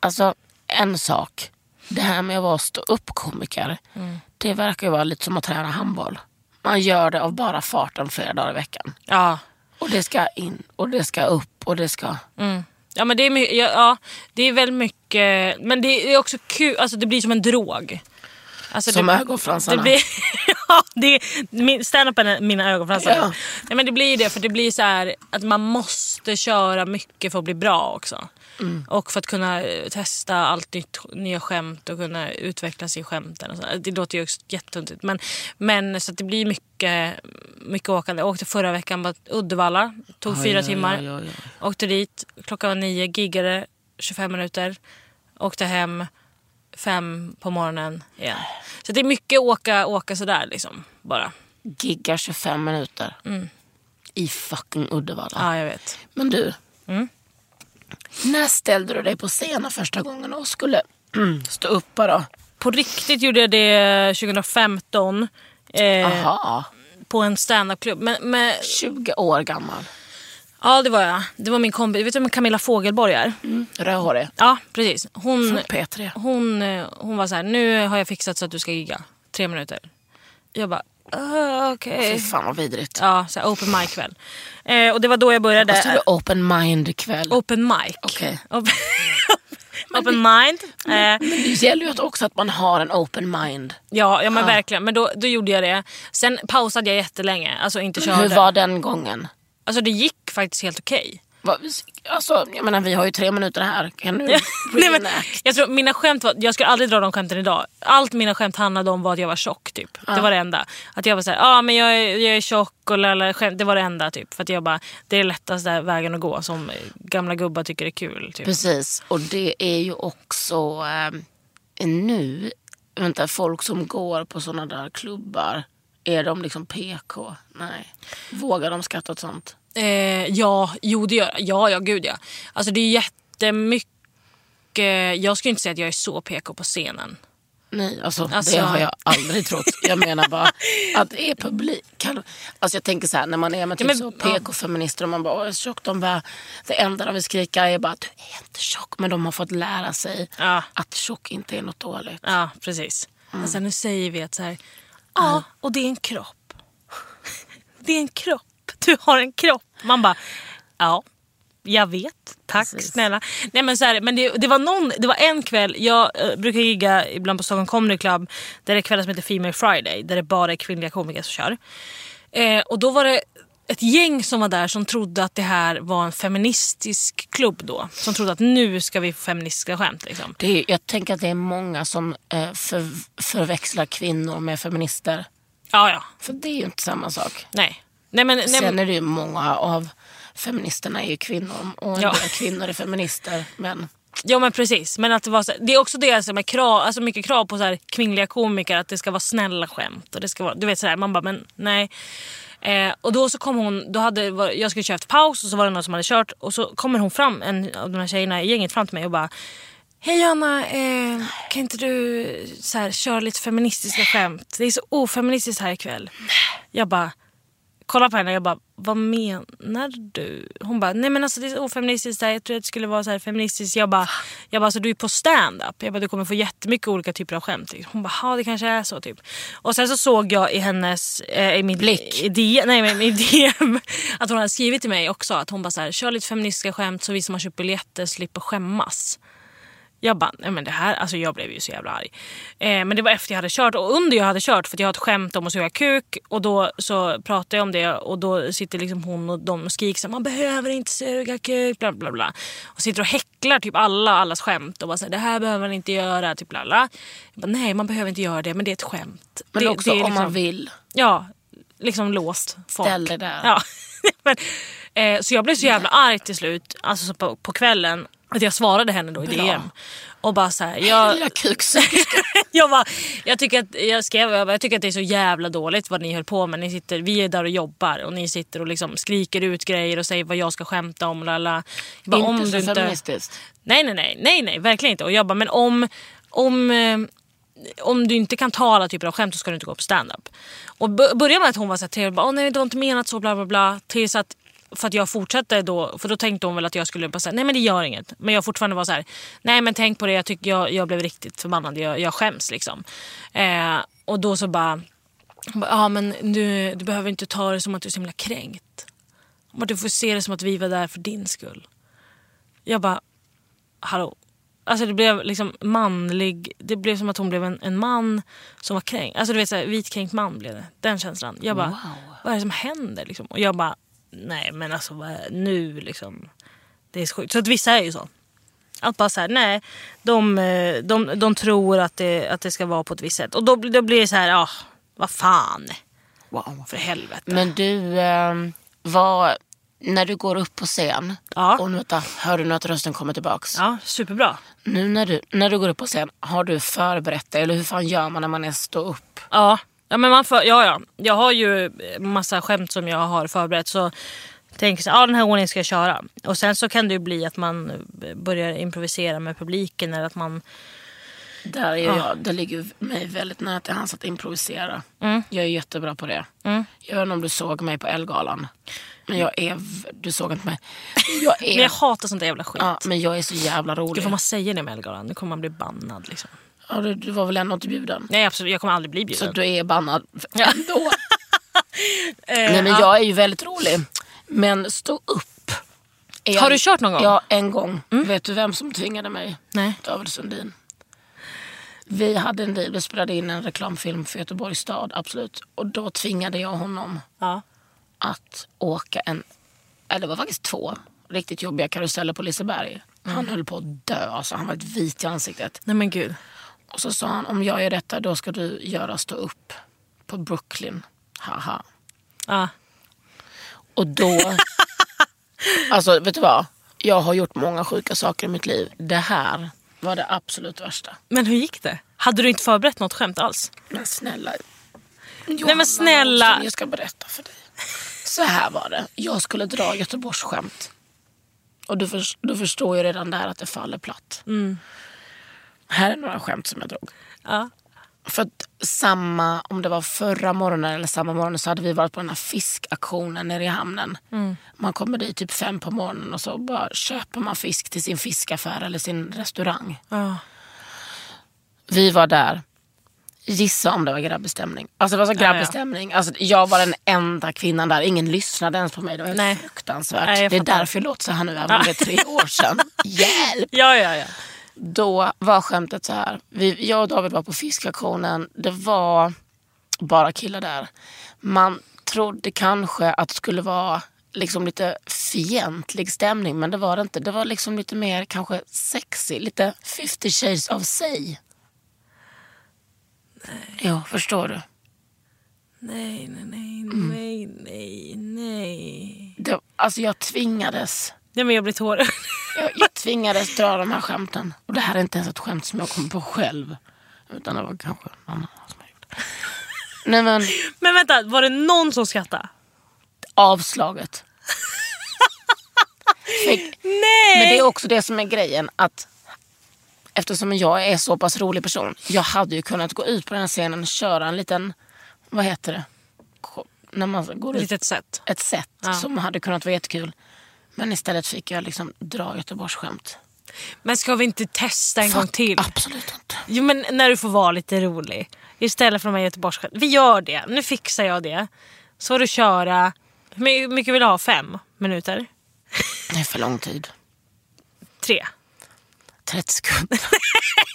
Alltså, en sak. Det här med att vara ståuppkomiker, Mm. det verkar ju vara lite som att träna handboll. Man gör det av bara farten flera dagar i veckan. Ja, Och det ska in, och det ska upp, och det ska... Mm. Ja men det är, my- ja, ja, det är väl mycket, men det är också kul, alltså det blir som en drog. Alltså Som det- ögonfransarna. Det blir, ja, det är, min, stand-upen är mina ögonfransar. Ja. Nej, men det blir ju det, för det blir så här att man måste köra mycket för att bli bra också. Mm. Och för att kunna eh, testa allt nytt, nya skämt och kunna utveckla sig i skämten. Och så. Det låter ju också jättetuntigt. Men, men så att det blir mycket, mycket åkande. Jag åkte förra veckan bara till Uddevalla, tog fyra timmar. Oj, oj, oj. Åkte dit, klockan var nio, giggade 25 minuter. Åkte hem fem på morgonen igen. Så det är mycket åka, åka sådär liksom. Bara. Giggar 25 minuter. I fucking Uddevalla. Mm. Ja, jag vet. Men du. Mm. När ställde du dig på scenen första gången och skulle stå uppa då? På riktigt gjorde jag det 2015 eh, Jaha, på en standupklubb. Men, men, 20 år gammal. ja, det var jag. Det var min kompis. Vet du vem Camilla Fogelborg är? Mm. Rödhårig. Ja, precis. Hon, Från P3. hon, eh, hon var så här, nu har jag fixat så att du ska gigga. Tre minuter. Jag bara, "Ah, okej. Fy fan vad vidrigt. Ja, så här open mic-kväll. Eh, och det var då jag började. Vad stod det? Open mind ikväll. Open mic. Okej. Open, open mind. Eh, Men det gäller ju att också att man har en open mind. ja, ja men verkligen. Men då, då gjorde jag det. Sen pausade jag jättelänge. Alltså inte körde. Hur var den gången? Alltså det gick faktiskt helt okej. Vad- Alltså, jag menar, vi har ju tre minuter här. Kan du Nej, men, reenact? jag tror mina skämt var, jag skulle aldrig dra de skämten idag. Allt mina skämt handlade om var att jag var tjock typ. Det var det enda. Att jag var såhär, ah, men jag, är- jag är tjock och lala, skämt. Det var det enda typ. För att jag bara, det är lättaste vägen att gå som gamla gubbar tycker är kul. Typ. Precis, och det är ju också eh, nu, vänta, folk som går på sådana där klubbar, är de liksom PK? Nej. Vågar de skratta åt sånt? Eh, ja, jo det gör Ja, ja gud ja. Alltså det är jättemycket. Jag skulle inte säga att jag är så PK på scenen. Nej, alltså, Alltså- det har jag aldrig trott. Jag menar bara att det är publik. Kan, alltså jag tänker så här, när man är med typ men- så PK-feminister och man bara, "Åh, jag är tjock. De bara, det enda de vill skrika är bara, du är inte tjock. Men de har fått lära sig Ja. att tjock inte är något dåligt. Ja, precis. Men sen nu säger vi att så här, ja, och det är en kropp. Det är en kropp. Du har en kropp. Man bara, ja, jag vet. Tack snälla. Nej, men så här, men det, det, var någon, det var en kväll, jag eh, brukar gigga ibland på Stockholm Comedy Club, där det är kvällar som heter Female Friday, där det bara är kvinnliga komiker som kör. Eh, och då var det ett gäng som var där som trodde att det här var en feministisk klubb då. Som trodde att nu ska vi få feministiska skämt liksom. Det är, jag tänker att det är många som eh, för, förväxlar kvinnor med feminister. Ja, ja. För det är ju inte samma sak. Nej. Nej, men, nej, Sen men, är det ju många av feministerna är ju kvinnor och en Ja. del kvinnor är feminister. Men ja men precis. Men att det, var så, det är också det som är krav, alltså mycket krav på så här, kvinnliga komiker. Att det ska vara snälla skämt. Och det ska vara, du vet sådär, man bara men nej. Eh, och då så kom hon, då hade, var- jag skulle köra efter paus och så var det någon som hade kört. Och så kommer hon fram, en av de här tjejerna i gänget fram till mig och bara Hej Anna, eh, kan inte du så här, köra lite feministiska skämt? Det är så ofeministiskt här ikväll. Jag bara, kolla på henne jag bara, vad menar du? Hon bara, nej men alltså det är så ofeministiskt här. Jag tror att det skulle vara så här feministiskt. Jag bara, jag bara alltså, du är på stand-up. Jag bara, du kommer få jättemycket olika typer av skämt. Liksom. Hon bara, ja det kanske är så typ. Och sen så såg jag i hennes, eh, i min Blick. I DM, nej men i DM, att hon hade skrivit till mig också. Att hon bara så här, kör lite feministiska skämt så vi som har köpt biljetter slipper skämmas. Jag bara, nej men det här, alltså jag blev ju så jävla arg. Eh, men det var efter jag hade kört och under jag hade kört för att jag har ett skämt om att suga kuk och då så pratade jag om det och då sitter liksom hon och de och skriker så här, man behöver inte suga kuk bla bla bla. Och sitter och häcklar typ alla allas skämt och bara så här, det här behöver man inte göra typ bla bla. Jag bara, nej man behöver inte göra det men det är ett skämt. Men det, också det är om man liksom- vill. Ja, liksom låst folk. Ställ det där. Ja. Men, eh, så jag blev så jävla arg till slut, alltså så på, på kvällen, att jag svarade henne då i DM. Och bara så här, jag, Lilla kuksugerska. jag, bara, jag, tycker att, jag skrev jag, bara, jag tycker att det är så jävla dåligt vad ni höll på med. Ni sitter, vi är där och jobbar och ni sitter och liksom skriker ut grejer och säger vad jag ska skämta om. Lala. Jag bara, om Inte du så inte, feministiskt. nej, nej, nej, nej, nej, verkligen inte. Och jag bara, men om, om, eh, om du inte kan ta alla typer av skämt så ska du inte gå på standup. Och b- började med att hon var så här trevlig, bara, "Åh, nej det var inte menat så, bla bla bla. Tills att, för att jag fortsatte då, för då tänkte hon väl att jag skulle bara säga nej men det gör inget. Men jag fortfarande var så här, nej men tänk på det, jag, tycker jag, jag blev riktigt förbannad, jag, jag skäms liksom. Eh, och då så bara, hon bara, ja men du, du behöver inte ta det som att du är så himla kränkt. Hon bara, du får se det som att vi var där för din skull. Jag bara, hallå. Alltså det blev liksom manlig, det blev som att hon blev en, en man som var kränkt. Alltså du vet såhär vitkränkt man blev det. Den känslan. Jag bara, vad är det som händer liksom? Och jag bara, nej men alltså vad är, nu liksom. Det är så sjukt. Så att vissa är ju så. Att bara såhär, nej. De, eh, de, de tror att det, att det ska vara på ett visst sätt. Och då, blir- då blir det så här, ja, vad fan. Wow. För helvete. Men du, ehm, vad, när du går upp på scen Ja. och nu, vänta, hör du nu att rösten kommer tillbaks. Ja, superbra. Nu när du, när du går upp på scen, har du förberett dig eller hur fan gör man när man är stå upp? Ja, ja, men man för, ja, ja. Jag har ju eh, massa skämt som jag har förberett. Så tänker jag ah, den här ordningen ska jag köra. Och sen så kan det ju bli att man eh, börjar improvisera med publiken. Eller att man, Där är ju jag, det ligger ju mig väldigt nära till hands att improvisera. Mm. Jag är jättebra på det. Jag vet inte om du såg mig på Elgalan. Men jag är, v- du såg inte mig. Jag men jag är, hatar sånt där jävla skit. ja, men jag är så jävla rolig. Gud, får man säga det med Ellegalan? Nu kommer man bli bannad. Liksom. Ja, du, du var väl ändå inte bjuden? Nej absolut, jag kommer aldrig bli Så bjuden. du är bannad ändå. Eh, Nej men jag är ju väldigt rolig. Men stå upp. är- Har du kört någon gång? Mm. Ja, en gång. Vet du vem som tvingade mig? Nej. David Sundin. Vi hade en deal, vi spelade in en reklamfilm för Göteborgs stad, absolut. Och då tvingade jag honom Ja. att åka en, eller det var faktiskt två, riktigt jobbiga karuseller på Liseberg. Mm. Han höll på att dö, alltså. han var helt vit i ansiktet. Nej men gud. Och så sa han, om jag gör detta då ska du göra stå upp på Brooklyn. Haha. Ja. Och då... alltså, vet du vad? Jag har gjort många sjuka saker i mitt liv. Det här var det absolut värsta. Men hur gick det? Hade du inte förberett något skämt alls? Men snälla. Nej men snälla. Jag ska berätta för dig. Så här var det. Jag skulle dra Göteborgsskämt. Och du, förs- du förstår ju redan där att det faller platt. Mm. Här är några skämt som jag drog. Ja. För att samma, om det var förra morgonen eller samma morgon så hade vi varit på den här fiskaktionen nere i hamnen. Mm. Man kommer dit typ fem på morgonen och så bara köper man fisk till sin fiskaffär eller sin restaurang. Ja. Vi var där. Gissa om det var grabbig stämning. Alltså det var så grabbig ja. stämning. Alltså, jag var den enda kvinnan där. Ingen lyssnade ens på mig. Det var helt Nej. fruktansvärt. Nej, jag det är fattar. därför jag låter så här nu även om det är tre år sedan. Hjälp! Ja, ja, ja. då var skämtet så här. Vi, jag och David var på fiskaktionen. Det var bara killar där. Man trodde kanske att det skulle vara liksom lite fientlig stämning men det var det inte. Det var liksom lite mer kanske sexy. Lite 50 shades of sig. Jo, förstår du. Nej, nej, nej, nej, nej, nej. Det, alltså jag tvingades. Nej men jag blir tårögd. Jag, jag tvingades dra de här skämten. Och det här är inte ens ett skämt som jag kom på själv. Utan det var kanske någon annan som har gjort det. Nej men, Men vänta, var det någon som skrattade? avslaget. Fick- Nej! Men det är också det som är grejen. att eftersom jag är så pass rolig person. Jag hade ju kunnat gå ut på den här scenen och köra en liten, vad heter det? Ko- När man går ut, Litet sätt. ett sätt Ja. som hade kunnat vara jättekul. Men istället fick jag liksom dra Göteborgsskämt. Men ska vi inte testa en gång Fuck, till? Absolut inte. Jo, men när du får vara lite rolig. Istället för de här göteborgsskämten. Vi gör det. Nu fixar jag det. Så får du köra. Hur mycket vill du ha? Fem minuter? Det är för lång tid. Tre? 30 sekunder.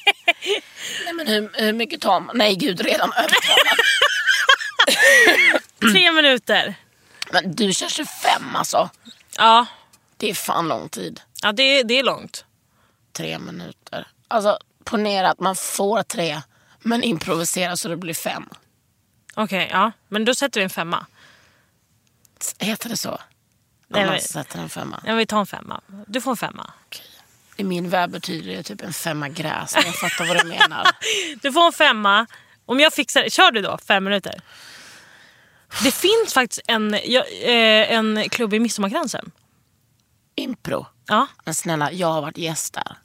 Nej men hur, hur mycket tar man? Nej gud, redan övertalad. Tre minuter. Men du kör 25 alltså. Ja, Det är fan lång tid. ja det, det är långt. Tre minuter. Alltså ponera att man får tre men improvisera så det blir fem. Okej, ja. Men då sätter vi en femma. Heter det så? Nej, Om man men- sätter en femma. Ja, vi tar en femma. Du får en femma. I min värld betyder det typ en femma gräs. men Jag fattar vad du menar. Du får en femma. Om jag fixar Kör du då fem minuter? Det finns faktiskt en, ja, eh, en klubb i Midsommarkransen. Impro. Ja. Men snälla, jag har varit gäst där.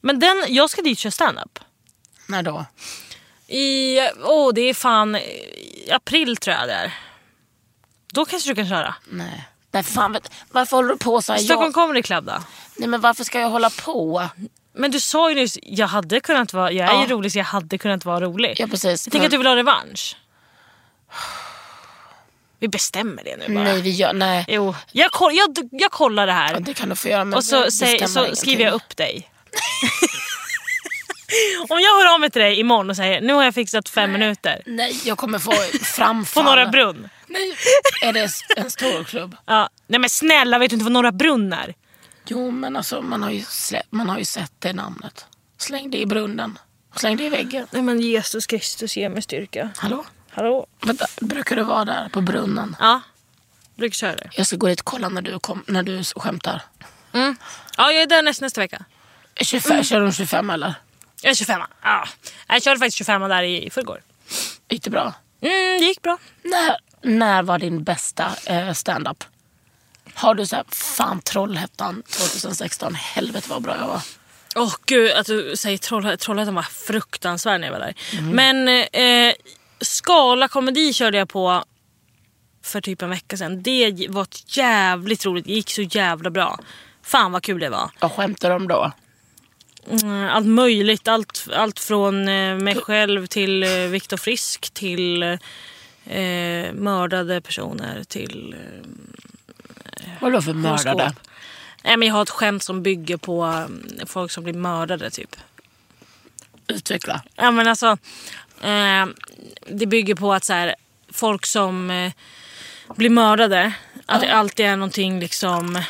Men den, jag ska dit köra stand-up. När då? I, oh, det är fan eh, april tror jag det är. Då kanske du kan köra. Nej. Nej, fan vet, varför håller du på så här? Stockholm Jag, Comedy Club då? nej, men varför ska jag hålla på? Men du sa ju nyss, jag hade kunnat vara, jag är Ja. ju rolig så jag hade kunnat vara rolig. Ja, precis. jag tänker Men- att du vill ha revansch. Vi bestämmer det nu bara. Nej, vi gör... Nej. Jo, jag, koll, jag, jag kollar det Ja, här. Det kan du få göra. Men Och så, det säg, stämmer så ingenting. skriver jag upp dig. Om jag hör av mig till dig imorgon och säger nu har jag fixat fem minuter. Nej, jag kommer få framfall. På Norra Brunn. Nej, är det en stor klubb? Ja. Nej men snälla, vet du inte vad Norra Brunn är? Jo, men alltså man har ju, slä- man har ju sett det namnet. Släng det i brunnen. Släng det i väggen. Nej men Jesus Kristus ge mig styrka. Hallå? Hallå? Vänta, brukar du vara där på brunnen? Ja, brukar köra det. Jag ska gå dit och kolla när du, kom, när du skämtar. Mm. Ja, jag är där nästa, nästa vecka. 25, Mm. Kör de 25 eller? Jag är 25. Ja. Jag körde faktiskt 25 där i förrgår. Gick det bra? Mm, det gick bra. När, när var din bästa eh, stand-up? Har du såhär, fan Trollhättan 2016, helvete vad bra jag var. Åh gud, att du säger Troll- Trollhättan var fruktansvärd när jag var där. Men eh, Skala komedi körde jag på för typ en vecka sedan. Det var ett jävligt roligt, det gick så jävla bra. Fan vad kul det var. Vad skämtar de då? Mm, allt möjligt. Allt, allt från eh, mig själv till eh, Viktor Frisk till eh, mördade personer till eh, Vad är det för mördare? horoskop. Nej, men jag har ett skämt som bygger på eh, folk som blir mördade. typ. Utveckla. Ja, men alltså, eh, det bygger på att så här, folk som eh, blir mördade, att det alltid är någonting liksom...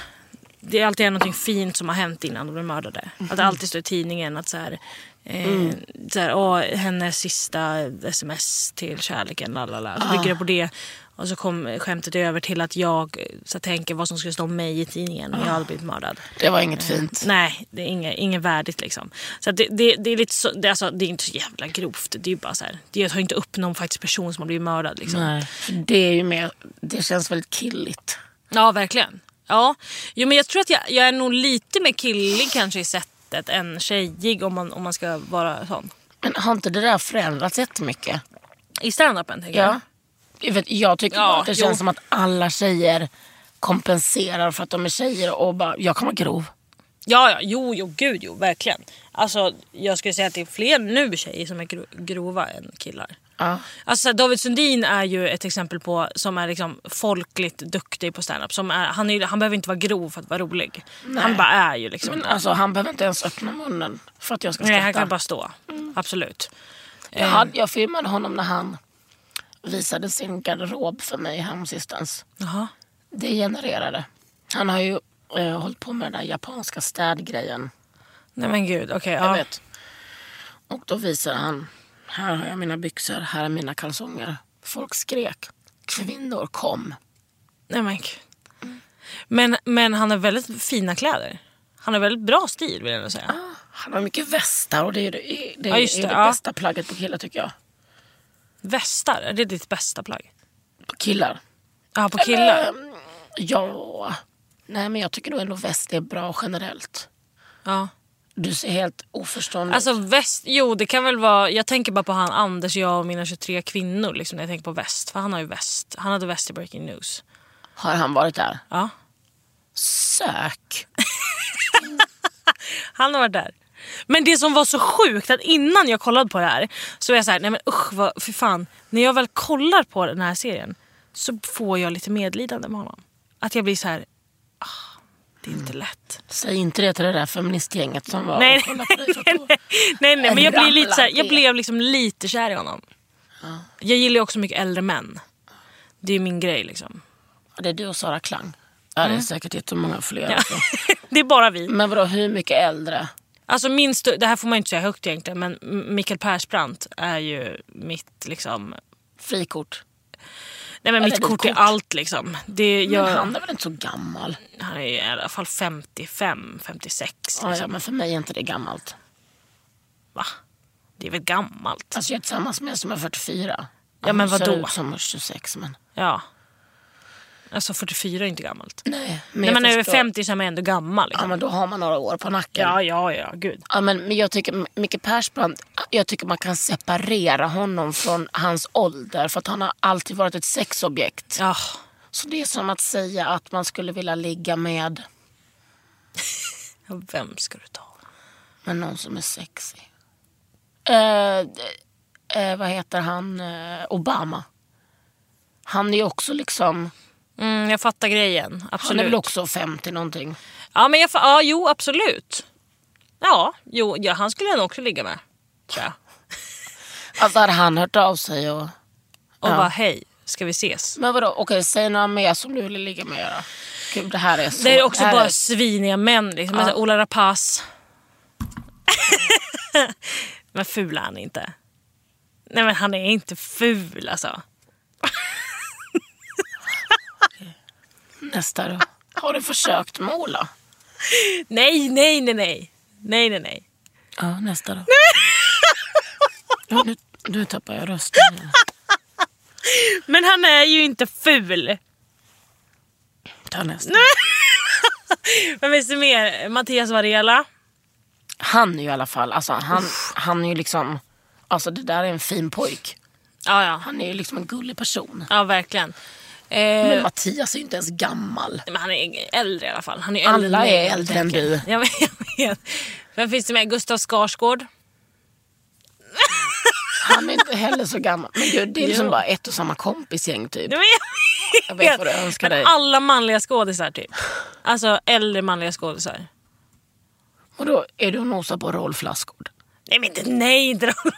Det är alltid är någonting fint som har hänt innan de blir mördade. Att det alltid står i tidningen att så här, eh, så här, åh, hennes sista sms till kärleken, lalala. Så bygger det på det. Och så kom skämtet över till att jag eh, så här, tänker vad som skulle stå om mig i tidningen om jag hade blivit mördad. Det var inget fint. Nej, det är inget, inget värdigt liksom. Så att det, det, det är lite så, det, är alltså, det är inte så jävla grovt. Det är ju bara så här, det tar ju inte upp någon faktiskt person som har blivit mördad. Liksom. Nej. För det är ju mer, det känns väldigt killigt. Ja, verkligen. Ja. Jo, men jag tror att jag, jag är nog lite mer killig kanske i sättet än tjejig om man, om man ska vara sån. Men har inte det där förändrats jättemycket? I standupen tänker jag. Jag, vet, jag tycker Ja, bara att det jo. känns som att alla tjejer kompenserar för att de är tjejer och bara, jag kan vara grov. Ja, ja. Jo, jo, gud jo, verkligen. Alltså, jag skulle säga att det är fler nu tjejer som är gro- grova än killar. Ja. Alltså, så här, David Sundin är ju ett exempel på som är liksom folkligt duktig på standup. Som är, han, är, ju- han behöver inte vara grov för att vara rolig. Han bara är ju liksom. Men alltså han behöver inte ens öppna munnen för att jag ska Nej, han skratta. Mm. kan bara stå. Absolut. Eh. jag, hade, jag filmade honom när han visade sin garderob för mig häromsistens. Jaha. Det genererade. Han har ju eh, hållit på med den där japanska städgrejen. Nej men gud, okej. Jag ja. vet. Och då visar han. Här har jag mina byxor, här är mina kalsonger. Folk skrek. Kvinnor kom. Nej men gud. Men, men han har väldigt fina kläder. Han har väldigt bra stil vill jag nog Ah. säga. Han har mycket västar och det är det, det, Ja, är just det, det, ja. bästa plagget på killar tycker jag. Västar, är det ditt bästa plagg? På killar. Ja, på killar? Ehm, ja. Nej men jag tycker nog ändå väst är bra generellt. Ja. Du ser helt oförstående Alltså ut. väst, jo det kan väl vara, jag tänker bara på han Anders, jag och mina 23 kvinnor liksom, när jag tänker på väst. För han har ju väst, han hade väst i Breaking News. Har han varit där? Ja. Sök. Han har varit där. Men det som var så sjukt att innan jag kollade på det här så var jag så här, nej men usch vad, för fan. När jag väl kollar på den här serien så får jag lite medlidande med honom. Att jag blir så här, ah, det är inte lätt. Säg inte det till det där feministgänget som var Nej, och kollade på dig. för att då- Nej, nej men jag blev, lite så här, jag Ramlade. blev liksom lite kär i honom. Jag gillar ju också mycket äldre män. Det är min grej liksom. Det är du och Sara Klang. Ja, det är säkert jättemånga fler. också. Det är bara vi. Men vadå, hur mycket äldre? Alltså min stö- det här får man ju inte säga högt egentligen men M- Mikael Persbrandt är ju mitt liksom... Frikort. Nej men Eller mitt ditt kort är kort. allt liksom. Det Men jag, han... han är väl inte så gammal? är ju i alla fall 55, 56 Ja, ja, liksom. men för mig är inte det gammalt. Va? Det är väl gammalt? Alltså jag är tillsammans med en som är 44. Ja, men Hon vadå? Ser ut som 26 men... Ja. Alltså 44 är inte gammalt. Nej, När jag man är över förstår. 50 så är man ändå gammal. Ja Liksom. men då har man några år på nacken. Ja, ja, ja, gud. Ja, men, men jag tycker Micke Persbrandt, jag tycker man kan separera honom från hans ålder för att han har alltid varit ett sexobjekt. Ja. Så det är som att säga att man skulle vilja ligga med, Vem ska du ta? med någon som är sexy. Eh, eh, vad heter han? Eh, Obama. Han är ju också liksom, Mm, jag fattar grejen. han är Absolut. väl också 50 någonting. Ja, men jag fa- ja, jo, absolut. Ja, jo, ja, han skulle jag nog också ligga med. Tror jag. Alltså hade han hört av sig och... Och bara, hej, ska vi ses? Men vadå, okej säg några mer som du vill ligga med då. Gud det här är så... Det är också här bara är- sviniga män. Liksom. Men så här, Ola Rapace. men ful är han inte. Nej, men han är inte ful alltså. Nästa då. Har du försökt med Ola? Nej, nej, nej, nej. Nej, nej, nej. Ja, nästa då. Ja, nu, nu tappar jag rösten. Men han är ju inte ful. Ta nästa. Men finns det mer? Mattias Varela. Han är ju i alla fall, alltså, han, han är ju liksom, alltså det där är en fin pojk. Ja, ja. Han är ju liksom en gullig person. Ja, verkligen. Eh, Men men, Mattias är ju inte ens gammal. han är äldre i alla fall. Han är äldre Alla än mig, är äldre än du. Jag vet, jag vet. Vem finns det med? Gustav Skarsgård. Han är inte heller så gammal. Men gud, det är liksom bara ett och samma kompisgäng typ. Jag vet, Jag vet vad du önskar Men dig. alla manliga skådisar typ. Alltså äldre manliga skådisar. Och då är du och nosar på Rolf Lassgård. Nej, men inte, nej, inte de-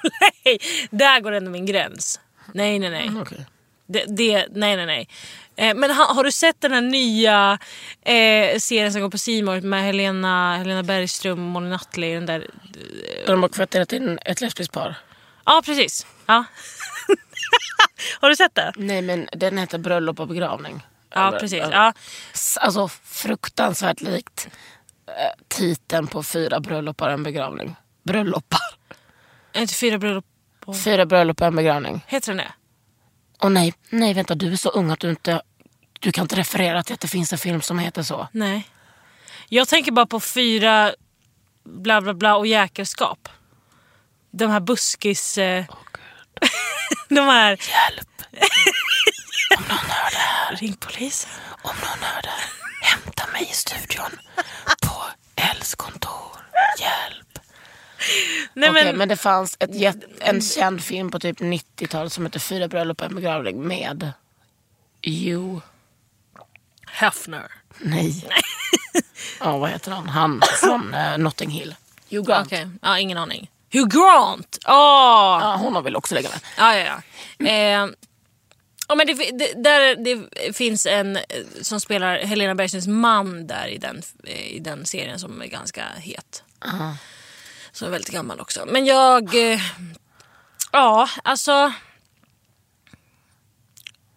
nej. Där går ändå min gräns. Nej, nej, nej. Okej. Det, det, nej, nej, nej. Eh, men ha, har du sett den här nya eh, serien som går på C More med Helena, Helena Bergström och Molly Nutley? Den där De har kvarterat in ett lesbiskt par. Ja, precis. Ja. har du sett det? Nej men den heter Bröllop och begravning. Ja, Eller- precis. eller- Ja. s- alltså, fruktansvärt likt eh, titeln på Fyra bröllop och en begravning. Bröllopar. Inte fyra bröllop. på- Fyra bröllop och en begravning. Heter den det? Och nej, nej vänta du är så ung att du inte du kan inte referera till att det finns en film som heter så. Nej. Jag tänker bara på fyra bla bla bla och jäkelskap. De här buskis... Eh... de här... Hjälp! Om någon hör det här. Ring polisen. Om någon hör det, hämta mig i studion på Els kontor. Hjälp. Nej, Okej, men, men... det fanns ett, jät- en känd film på typ 90-talet som heter Fyra bröllop och en begravning med Hugh Hefner. Nej. ja, vad heter han? Han från eh, Notting Hill. Hugh Grant. Okej, ja, ingen aning. Hugh Grant! Åh! Ja, honom vill också lägga med. Ja, ja, ja. Eh, ja men det, fi- det, där, det finns en eh, som spelar Helena Bergströms man där i den, eh, i den serien som är ganska het. Som är väldigt gammal också. Men jag... Eh, ja, alltså...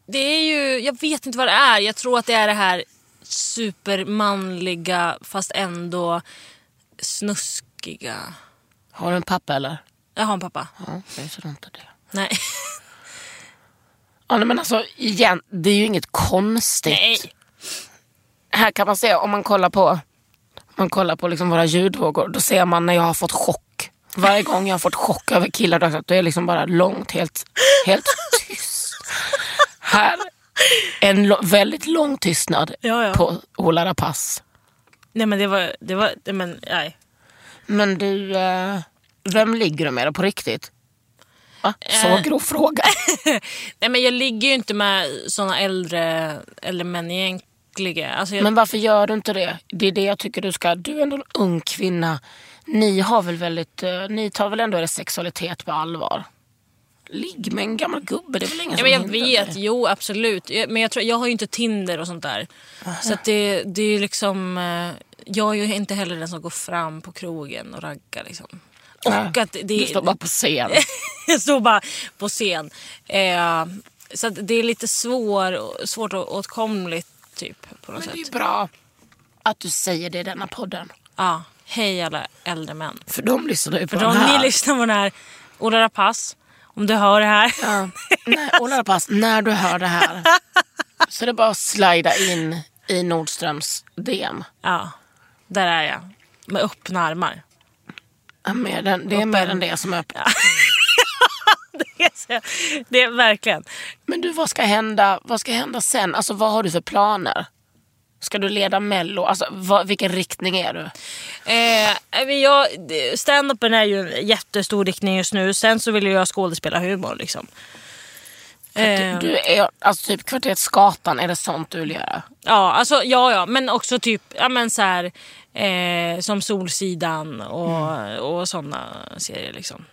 Det är ju... Jag vet inte vad det är. Jag tror att det är det här supermanliga fast ändå snuskiga... Har du en pappa eller? Jag har en pappa. Ja, jag tror inte det. Nej. Ja, nej, men alltså igen, det är ju inget konstigt. Nej. Här kan man se om man kollar på man kollar på liksom våra ljudvågor, då ser man när jag har fått chock. Varje gång jag har fått chock över killar, då är det liksom bara långt, helt, helt tyst. Här, en lo- väldigt lång tystnad Ja, ja. på Ola Rapace. Nej men det var, det var nej, men, nej. Men du, eh, vem ligger du med då på riktigt? Va? Så Eh. grov fråga. nej men jag ligger ju inte med såna äldre, äldre män egentligen. Alltså, jag, Men varför gör du inte det? Det är det jag tycker du ska. Du är ändå en ung kvinna. Ni, har väl väldigt, eh, ni tar väl ändå er sexualitet på allvar? Ligg med en gammal gubbe, det är väl ingen Ja, som men jag hindrar vet, dig? jo absolut. Jag- Men jag, tror, jag har ju inte Tinder och sånt där. Så att det, det är ju liksom... eh, Jag är ju inte heller den som går fram på krogen och raggar. Liksom. Och att det, Du står bara på scen. jag står bara på scen. Eh, så att det är lite svår, svårt och åtkomligt typ, på något Men det är ju sätt. bra att du säger det i denna podden. Ja, hej alla äldre män. För de lyssnar ju på För den om här. ni lyssnar på den här, Ola Rapace, om du hör det här. Ja. Nej, Ola Rapace, när du hör det här så är det bara att slida in i Nordströms DM. Ja, där är jag. Med öppna armar. Ja, mer än, det är mer än det som är öppet. Det är, så- det är verkligen. Men du, vad ska hända, vad ska hända sen? Alltså, vad har du för planer? Ska du leda mello? Alltså, vad, vilken riktning är du? Eh, men jag, stand-upen är ju en jättestor riktning just nu. Sen så vill ju jag skådespela humor liksom. Eh, Du är alltså, typ kvarteret Skatan, är det sånt du vill göra? ja, alltså, ja, ja, men också typ ja, men så här, eh, som Solsidan och, Mm. och sådana serier. Liksom.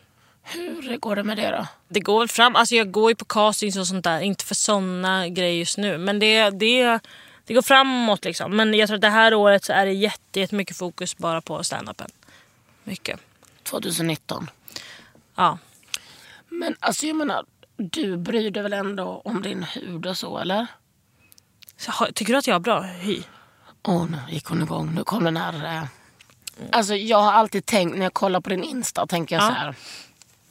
Hur går det med det då? Det går väl fram. Alltså, jag går ju på castings och sånt där. Inte för sådana grejer just nu. Men det, det, det går framåt liksom. Men jag tror att det här året så är det jätte, jättemycket fokus bara på stand-upen. Mycket. 2019. Ja. Men alltså, jag menar, du bryr dig väl ändå om din hud och så, eller? Så, har- tycker du att jag har bra hy? Åh, nu gick hon igång. Nu kom den här... Eh... Alltså, jag har alltid tänkt, när jag kollar på din Insta, tänker jag Ja. så här...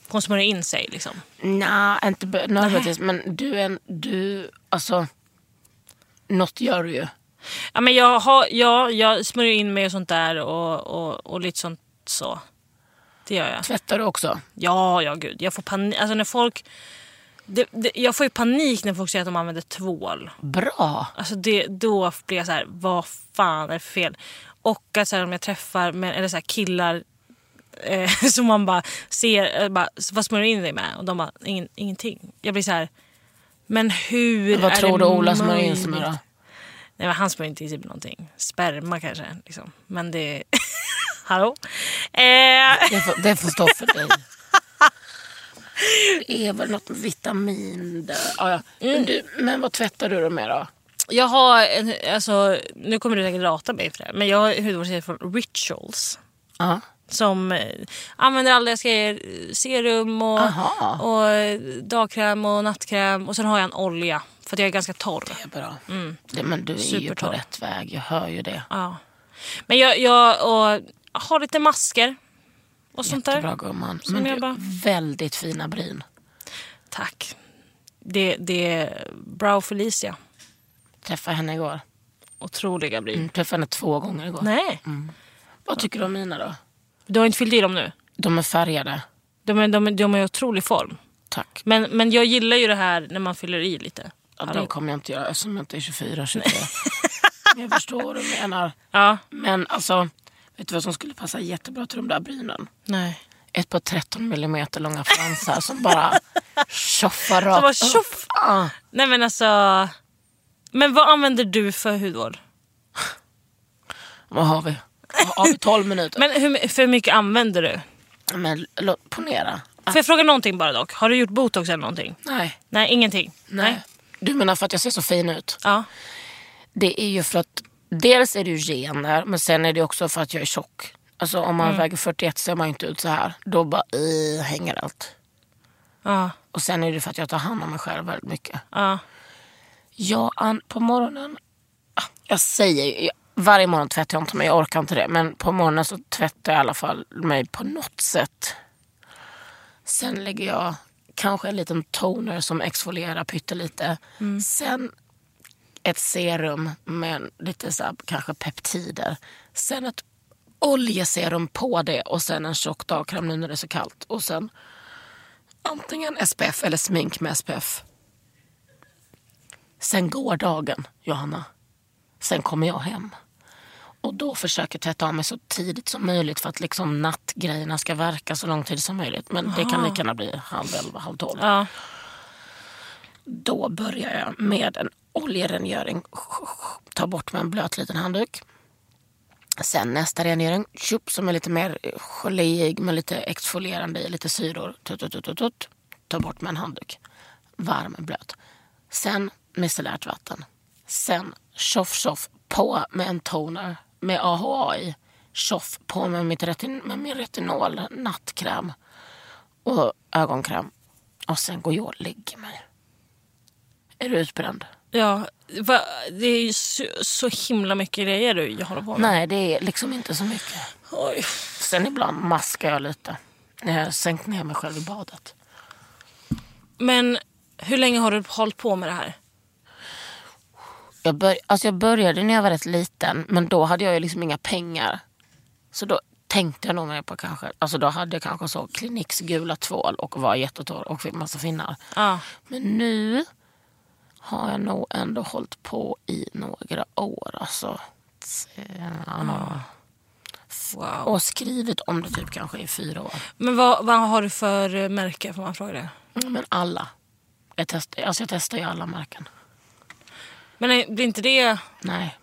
Hon smörjer in sig liksom. Nej, inte be- nödvändigtvis. Men du är en... Du, alltså... Något gör du ju. Ja, men jag, har, ja, jag smörjer in mig och sånt där och, och, och lite sånt så. Det gör jag. Tvättar du också? Ja, ja gud. Jag får panik. Alltså när folk... Det, det, jag får ju panik när folk säger att de använder tvål. Bra. Alltså det, då blir jag så här, vad fan är det för fel? Och att så här, om jag träffar med, eller så här, killar eh, som man bara ser, eh, bara, vad smörjer du in dig med? Och de bara, Ingen, ingenting. Jag blir så här, men hur Vad är tror det du Ola smörjer in sig med möjligt? då? Nej men han smörjer inte i sig på någonting. Sperma kanske. Liksom. Men det... Hallå? Eh, Det får, det får stå för dig. Det är väl något med vitamin där. Ja, ja. Mm. Men, du, men vad tvättar du då med då? jag har, en, alltså, nu kommer du säkert rata mig för det här, men jag har hudvårdsserie från Rituals. Ja. Som eh, använder alla deras grejer, eh, serum och, Aha. och eh, dagkräm och nattkräm. Och sen har jag en olja, för att jag är ganska torr. Det är bra. Mm. Det, men du är ju på Supertorr. rätt väg. Jag hör ju det. Ja. Men jag, jag och, har lite masker och sånt där. Jättebra gumman. Som Men jag du, bara- väldigt fina bryn. Tack. Det, det är Brow Felicia. Träffade henne igår. Otroliga bryn. Mm, träffade henne två gånger igår. Nej. Vad tycker du om mina då? Du har inte fyllt i dem nu? De är färgade. De är, de är, de är i otrolig form. Tack. Men, men jag gillar ju det här när man fyller i lite. Ja, det Hallå. kommer jag inte göra eftersom jag inte är 24, 23. Men jag förstår vad du menar. Ja. Men alltså, vet du vad som skulle passa jättebra till de där brynen? Nej. Ett par 13 millimeter långa fransar som bara tjoffar rakt Så bara upp. tjoff! Ah, Nej men alltså. Men vad använder du för hudvård? vad har vi? Har vi 12 minuter? Men hur, för hur mycket använder du? Men, låt- ponera. Får jag fråga någonting bara dock? Har du gjort botox eller någonting? Nej, Nej, ingenting. nej. Du menar för att jag ser så fin ut? Ja. Det är ju för att dels är det ju gener men sen är det också för att jag är tjock. Alltså om man väger 41 ser man ju inte ut så här. Då bara eh, hänger allt. Ja. Och sen är det för att jag tar hand om mig själv väldigt mycket. Ja. Jag an, på morgonen, ah, jag säger ju- jag, varje morgon tvättar jag inte mig, jag orkar inte det. Men på morgonen så tvättar jag i alla fall mig på något sätt. Sen lägger jag kanske en liten toner som exfolierar pyttelite. Sen ett serum med lite så här, kanske peptider. Sen ett oljeserum på det och sen en tjock dagkräm nu när det är så kallt. Och sen antingen SPF eller smink med SPF. Sen går dagen, Johanna. Sen kommer jag hem. Och då försöker tvätta av mig så tidigt som möjligt för att liksom nattgrejerna ska verka så lång tid som möjligt. Men det kan lika gärna bli halv elva, halv tolv. Ja. Då börjar jag med en oljerengöring. Ta bort med en blöt liten handduk. Sen nästa rengöring, tjup, som är lite mer geléig med lite exfolierande i, lite syror. Tut, tut, tut, tut, tut. Ta bort med en handduk. Varm, blöt. Sen micellärt vatten. Sen tjoff, tjoff, på med en toner med AHA i. Tjoff, på med, mitt retin- med min retinol, nattkräm och ögonkräm. Och sen går jag och lägger mig. Är du utbränd? Ja, va, det är ju så, så himla mycket grejer du jag håller på med. Nej, det är liksom inte så mycket. Oj. Sen ibland maskar jag lite. När jag har sänkt ner mig själv i badet. Men hur länge har du hållit på med det här? Jag, bör, alltså jag började när jag var rätt liten, men då hade jag ju liksom inga pengar. Så då tänkte jag nog mer på kanske, alltså då hade jag kanske så Kliniks gula tvål och var jättetorr och fick massa finnar. Ja. Men nu har jag nog ändå hållit på i några år. Alltså. Sen- Wow. Och skrivit om det typ kanske i fyra år. Men vad, vad har du för eh, märke? Får man fråga det? Men alla. Jag, test, alltså jag testar ju alla märken. Men eh, blir inte det... Nej,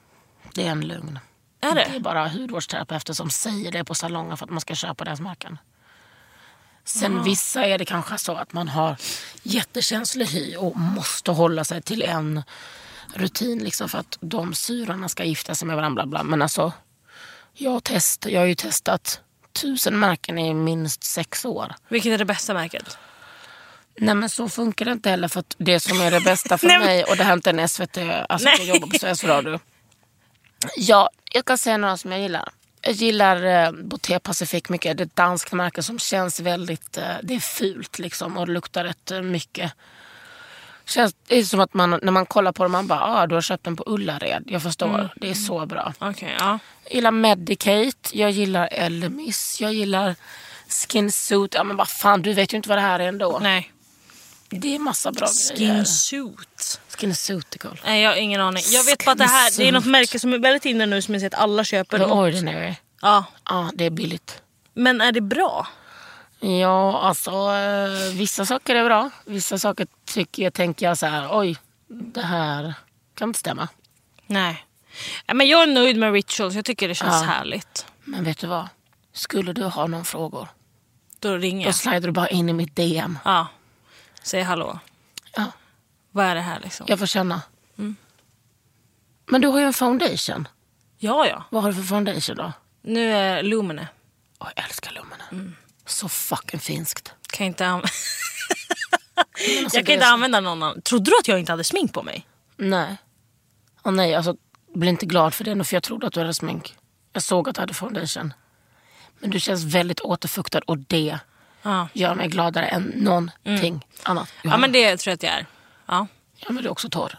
det är en lögn. Är Det är det? bara hudvårdsterapeuter som säger det på salonger för att man ska köpa deras märken. Sen vissa är det kanske så att man har jättekänslig hy och måste hålla sig till en rutin liksom för att de syrorna ska gifta sig med varandra. Bla bla. Men alltså, jag, har test, jag har ju testat tusen märken i minst sex år. Vilket är det bästa märket? Nej men så funkar det inte heller för att det som är det bästa för Nej, men- mig och det här är inte en SVT, alltså att jag Nej. jobbar på Sveriges Radio. Ja, jag kan säga några som jag gillar. Jag gillar eh, Boté Pacific mycket. Det är ett danskt märke som känns väldigt, eh, det är fult liksom och det luktar rätt eh, mycket. Känns, det är som att man, när man kollar på det man bara, ah, du har köpt den på Ullared. Jag förstår, Mm. det är så bra. Okej, ja. Jag gillar Medicate, jag gillar Elemis, jag gillar Skin Suit. Ja men vad fan, du vet ju inte vad det här är ändå. Nej. Det är massa bra grejer. Skin suit. Skinsuitical. Nej, jag har ingen aning. Jag vet bara att det här det är något märke som är väldigt inne nu som jag ser att alla köper. The ordinary. Ja. Ja, det är billigt. Men är det bra? Ja, alltså eh, vissa saker är bra. Vissa saker tycker jag, tänker jag så här, oj, det här kan inte stämma. Nej. Nej, Men jag är nöjd med rituals. Jag tycker det känns Ja. härligt. Men vet du vad? Skulle du ha någon frågor, Då ringer då jag. slider du bara in i mitt DM. Ja. Säg hallå. Ja, Vad är det här liksom? jag får känna. Mm. Men du har ju en foundation. Ja, ja. Vad har du för foundation då? Nu är Lumene. Åh, jag älskar Lumene. Så fucking finskt. Kan inte anv- alltså, jag det kan inte är- använda någon annan. Trodde du att jag inte hade smink på mig? Nej. Åh nej, alltså bli inte glad för det nu för jag trodde att du hade smink. Jag såg att du hade foundation. Men du känns väldigt återfuktad och det Ja. gör mig gladare än någonting annat. Mm. Ja, men det tror jag att jag är. Ja. ja, men du är också torr.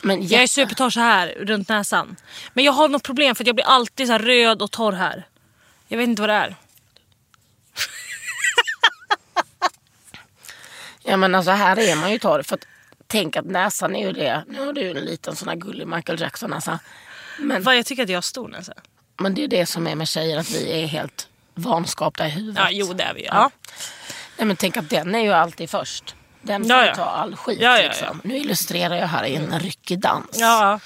Men Jag är jätte- supertorr så här runt näsan. Men jag har något problem för att jag blir alltid så här röd och torr här. Jag vet inte vad det är. Ja men alltså här är man ju torr. För att, tänk att näsan är ju det. Nu har du ju en liten sån här gullig Michael Jackson-näsa. Vad jag tycker att jag har stor näsa. Men det är det som är med tjejer, att vi är helt vanskapta i huvudet. Ja, jo det är vi ju. Ja. Ja. Nej, men tänk att den är ju alltid först. Den får Ja, ja. ta all skit. Ja, ja, ja. liksom. Nu illustrerar jag här i en ryckig dans. Ja.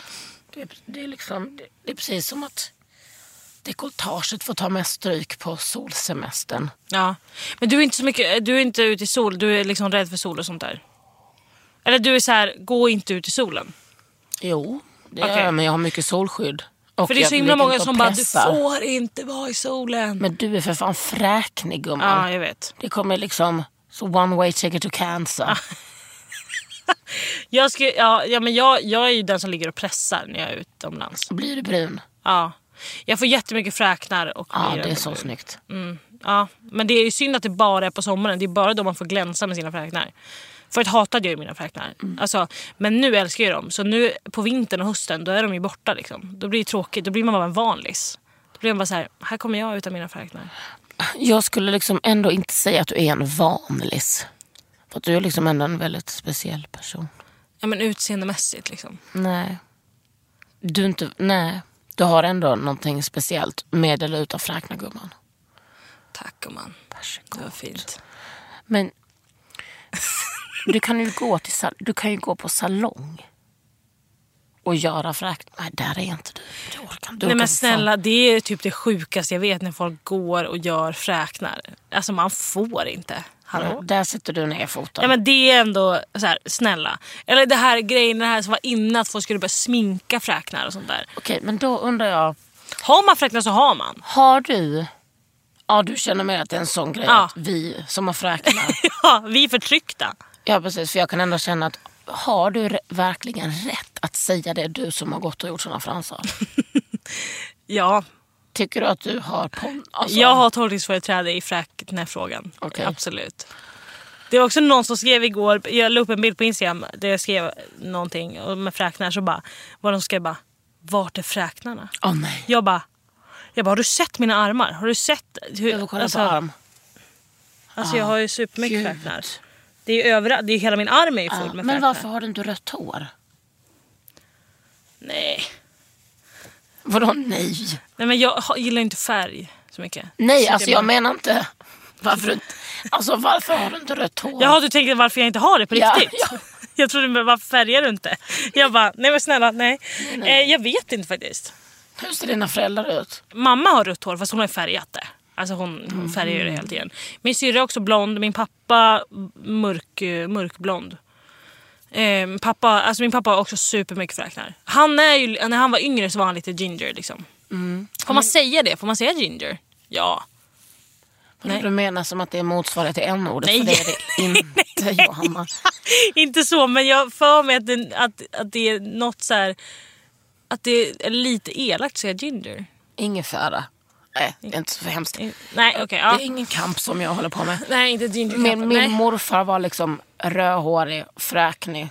Det, är- det, är liksom, det, det är precis som att dekolletaget får ta mest stryk på solsemestern. ja. Men du är inte så mycket, du är inte ute i sol, du är liksom rädd för sol och sånt där. Eller du är så här, gå inte ut i solen. Jo, det Okej. gör jag, men jag har mycket solskydd. Och För det är jag så himla ligger många inte och som bara, du pressar. får inte vara i solen. Men du är för fan fräknig gumman. Ja, jag vet. Det kommer liksom, så one way ticket to cancer. Jag, ska, ja, ja, men jag, jag är ju den som ligger och pressar när jag är utomlands. Blir du brun? Ja. Jag får jättemycket fräknar. Och Ja, blir- det är så snyggt. Ja. Men det är ju synd att det bara är på sommaren. Det är bara då man får glänsa med sina fräknar. Förut hatade jag ju mina fräknar. Alltså, men nu älskar jag dem. Så nu på vintern och hösten då är de ju borta. Liksom. Då blir det tråkigt. Då blir man bara en vanlis. Då blev man bara så här, här kommer jag utan mina färgkläder. Jag skulle liksom ändå inte säga att du är en vanlis. För att du är liksom ändå en väldigt speciell person. Ja men utseendemässigt liksom. Nej. Du är inte, nej. Du har ändå någonting speciellt med eller utan fräknargumman. Tack gumman. Varsågod. Det var fint. Men du kan ju gå, till, sal- du kan ju gå på salong och göra fräknar. Nej, där är inte du. Det orkar inte. Du Nej orkar för men fan. snälla, det är typ det sjukaste jag vet när folk går och gör fräknar. Alltså man får inte. Hallå? Ja, Där sätter du ner foten. Ja, men det är ändå så här, snälla. Eller det här grejen det här som var innan att folk skulle börja sminka fräknar och sånt där. Okej, men då undrar jag. Har man fräknar så har man. Har du... Ja, du känner mer att det är en sån grej Ja. att vi som har fräknar. Ja, vi är förtryckta. ja, precis. För jag kan ändå känna att har du re- verkligen rätt att säga det du som har gått och gjort såna fransar? Ja, Tycker du att du har pon... Alltså, jag har tolkningsföreträde i fräknarfrågan. Okej. Absolut. Det var också någon som skrev igår, jag la upp en bild på Instagram där jag skrev någonting med fräknar så bara var de skrev bara vart är fräknarna? Åh, nej. Jag bara, jag bara har du sett mina armar? Har du sett? Hur, Jag vill kolla på arm. Alltså jag har ju supermycket Ah, Gud. fräknar. Det är ju överallt, det är ju hela min arm är ju full Ja, alltså, med fräknar. men varför har du inte rött hår? Nej. Vadå nej? Nej men jag ha- gillar ju inte färg så mycket. Nej, Så alltså det- jag menar inte... Varför, du inte- alltså, varför har du inte rött hår? Jaha du tänkte varför jag inte har det på Ja, riktigt? ja. Jag trodde men varför färgar du inte? Jag bara, nej men snälla nej. Eh, jag vet inte faktiskt. Hur ser dina föräldrar ut? Mamma har rött hår fast hon har ju färgat det. Alltså hon, hon färgar ju det hela tiden. Min syrra är också blond, min pappa mörk, eh, mörkblond. Eh, pappa, alltså min pappa har också supermycket fräknar. Han är ju, när han var yngre så var han lite ginger liksom. Får man säga det? Får man säga ginger? Ja. Nej. Nej. Du menar som att det är motsvarighet till n-ordet? Nej. För det är det inte Johanna. Inte så, men jag för mig att det, att, att det är något så här... Att det är lite elakt att säga ginger. Eh, Ingefära. Nej, det är inte så hemskt. Nej, okej. Det ja. är ingen kamp som jag håller på med. Nej, inte ginger. Min, Nej. min morfar var liksom rödhårig, fräknig.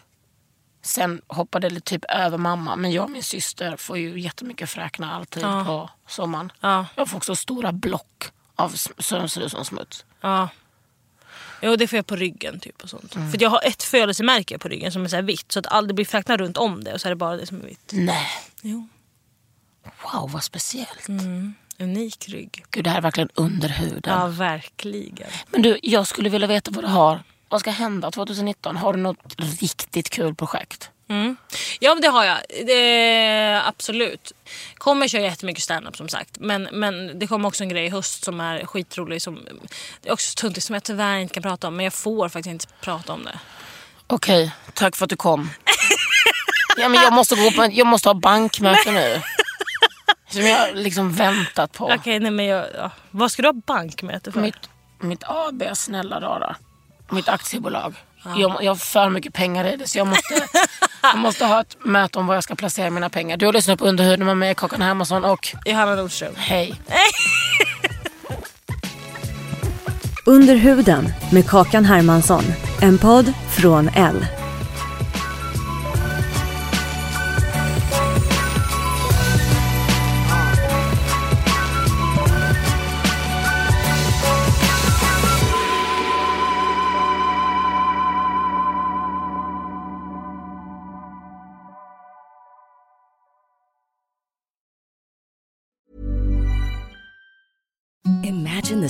Sen hoppade det typ över mamma. Men jag och min syster får ju jättemycket fräknar alltid på sommaren. Ja. Jag får också stora block av sm- som ser ut som smuts. Ja. Jo, det får jag på ryggen typ och sånt. För jag har ett födelsemärke på ryggen som är så här vitt. Så att all, det blir fräknar runt om det och så är det bara det som är vitt. Nej. Jo. Wow, vad speciellt. Mm. Unik rygg. Gud, det här är verkligen under huden. Ja, verkligen. Men du, jag skulle vilja veta vad du har. Vad ska hända 2019? Har du något riktigt kul projekt? Mm. Ja men det har jag. Det, absolut. Kommer köra jättemycket standup som sagt. Men, men det kommer också en grej i höst som är skitrolig. Som, det är också tuntigt som jag tyvärr inte kan prata om. Men jag får faktiskt inte prata om det. Okej, tack för att du kom. ja, men jag, måste gå på en, jag måste ha bankmöte nu. Som jag liksom väntat på. Okej nej men jag, ja. Vad ska du ha bankmöte för? Mitt, mitt AB, snälla rara. Mitt aktiebolag. Jag, jag har för mycket pengar i det så jag måste, jag måste ha ett möte om var jag ska placera mina pengar. Du har lyssnat på Underhuden med mig, Kakan Hermansson och Johanna Nordström. hej. Under huden med Kakan Hermansson. En podd från L. Imagine the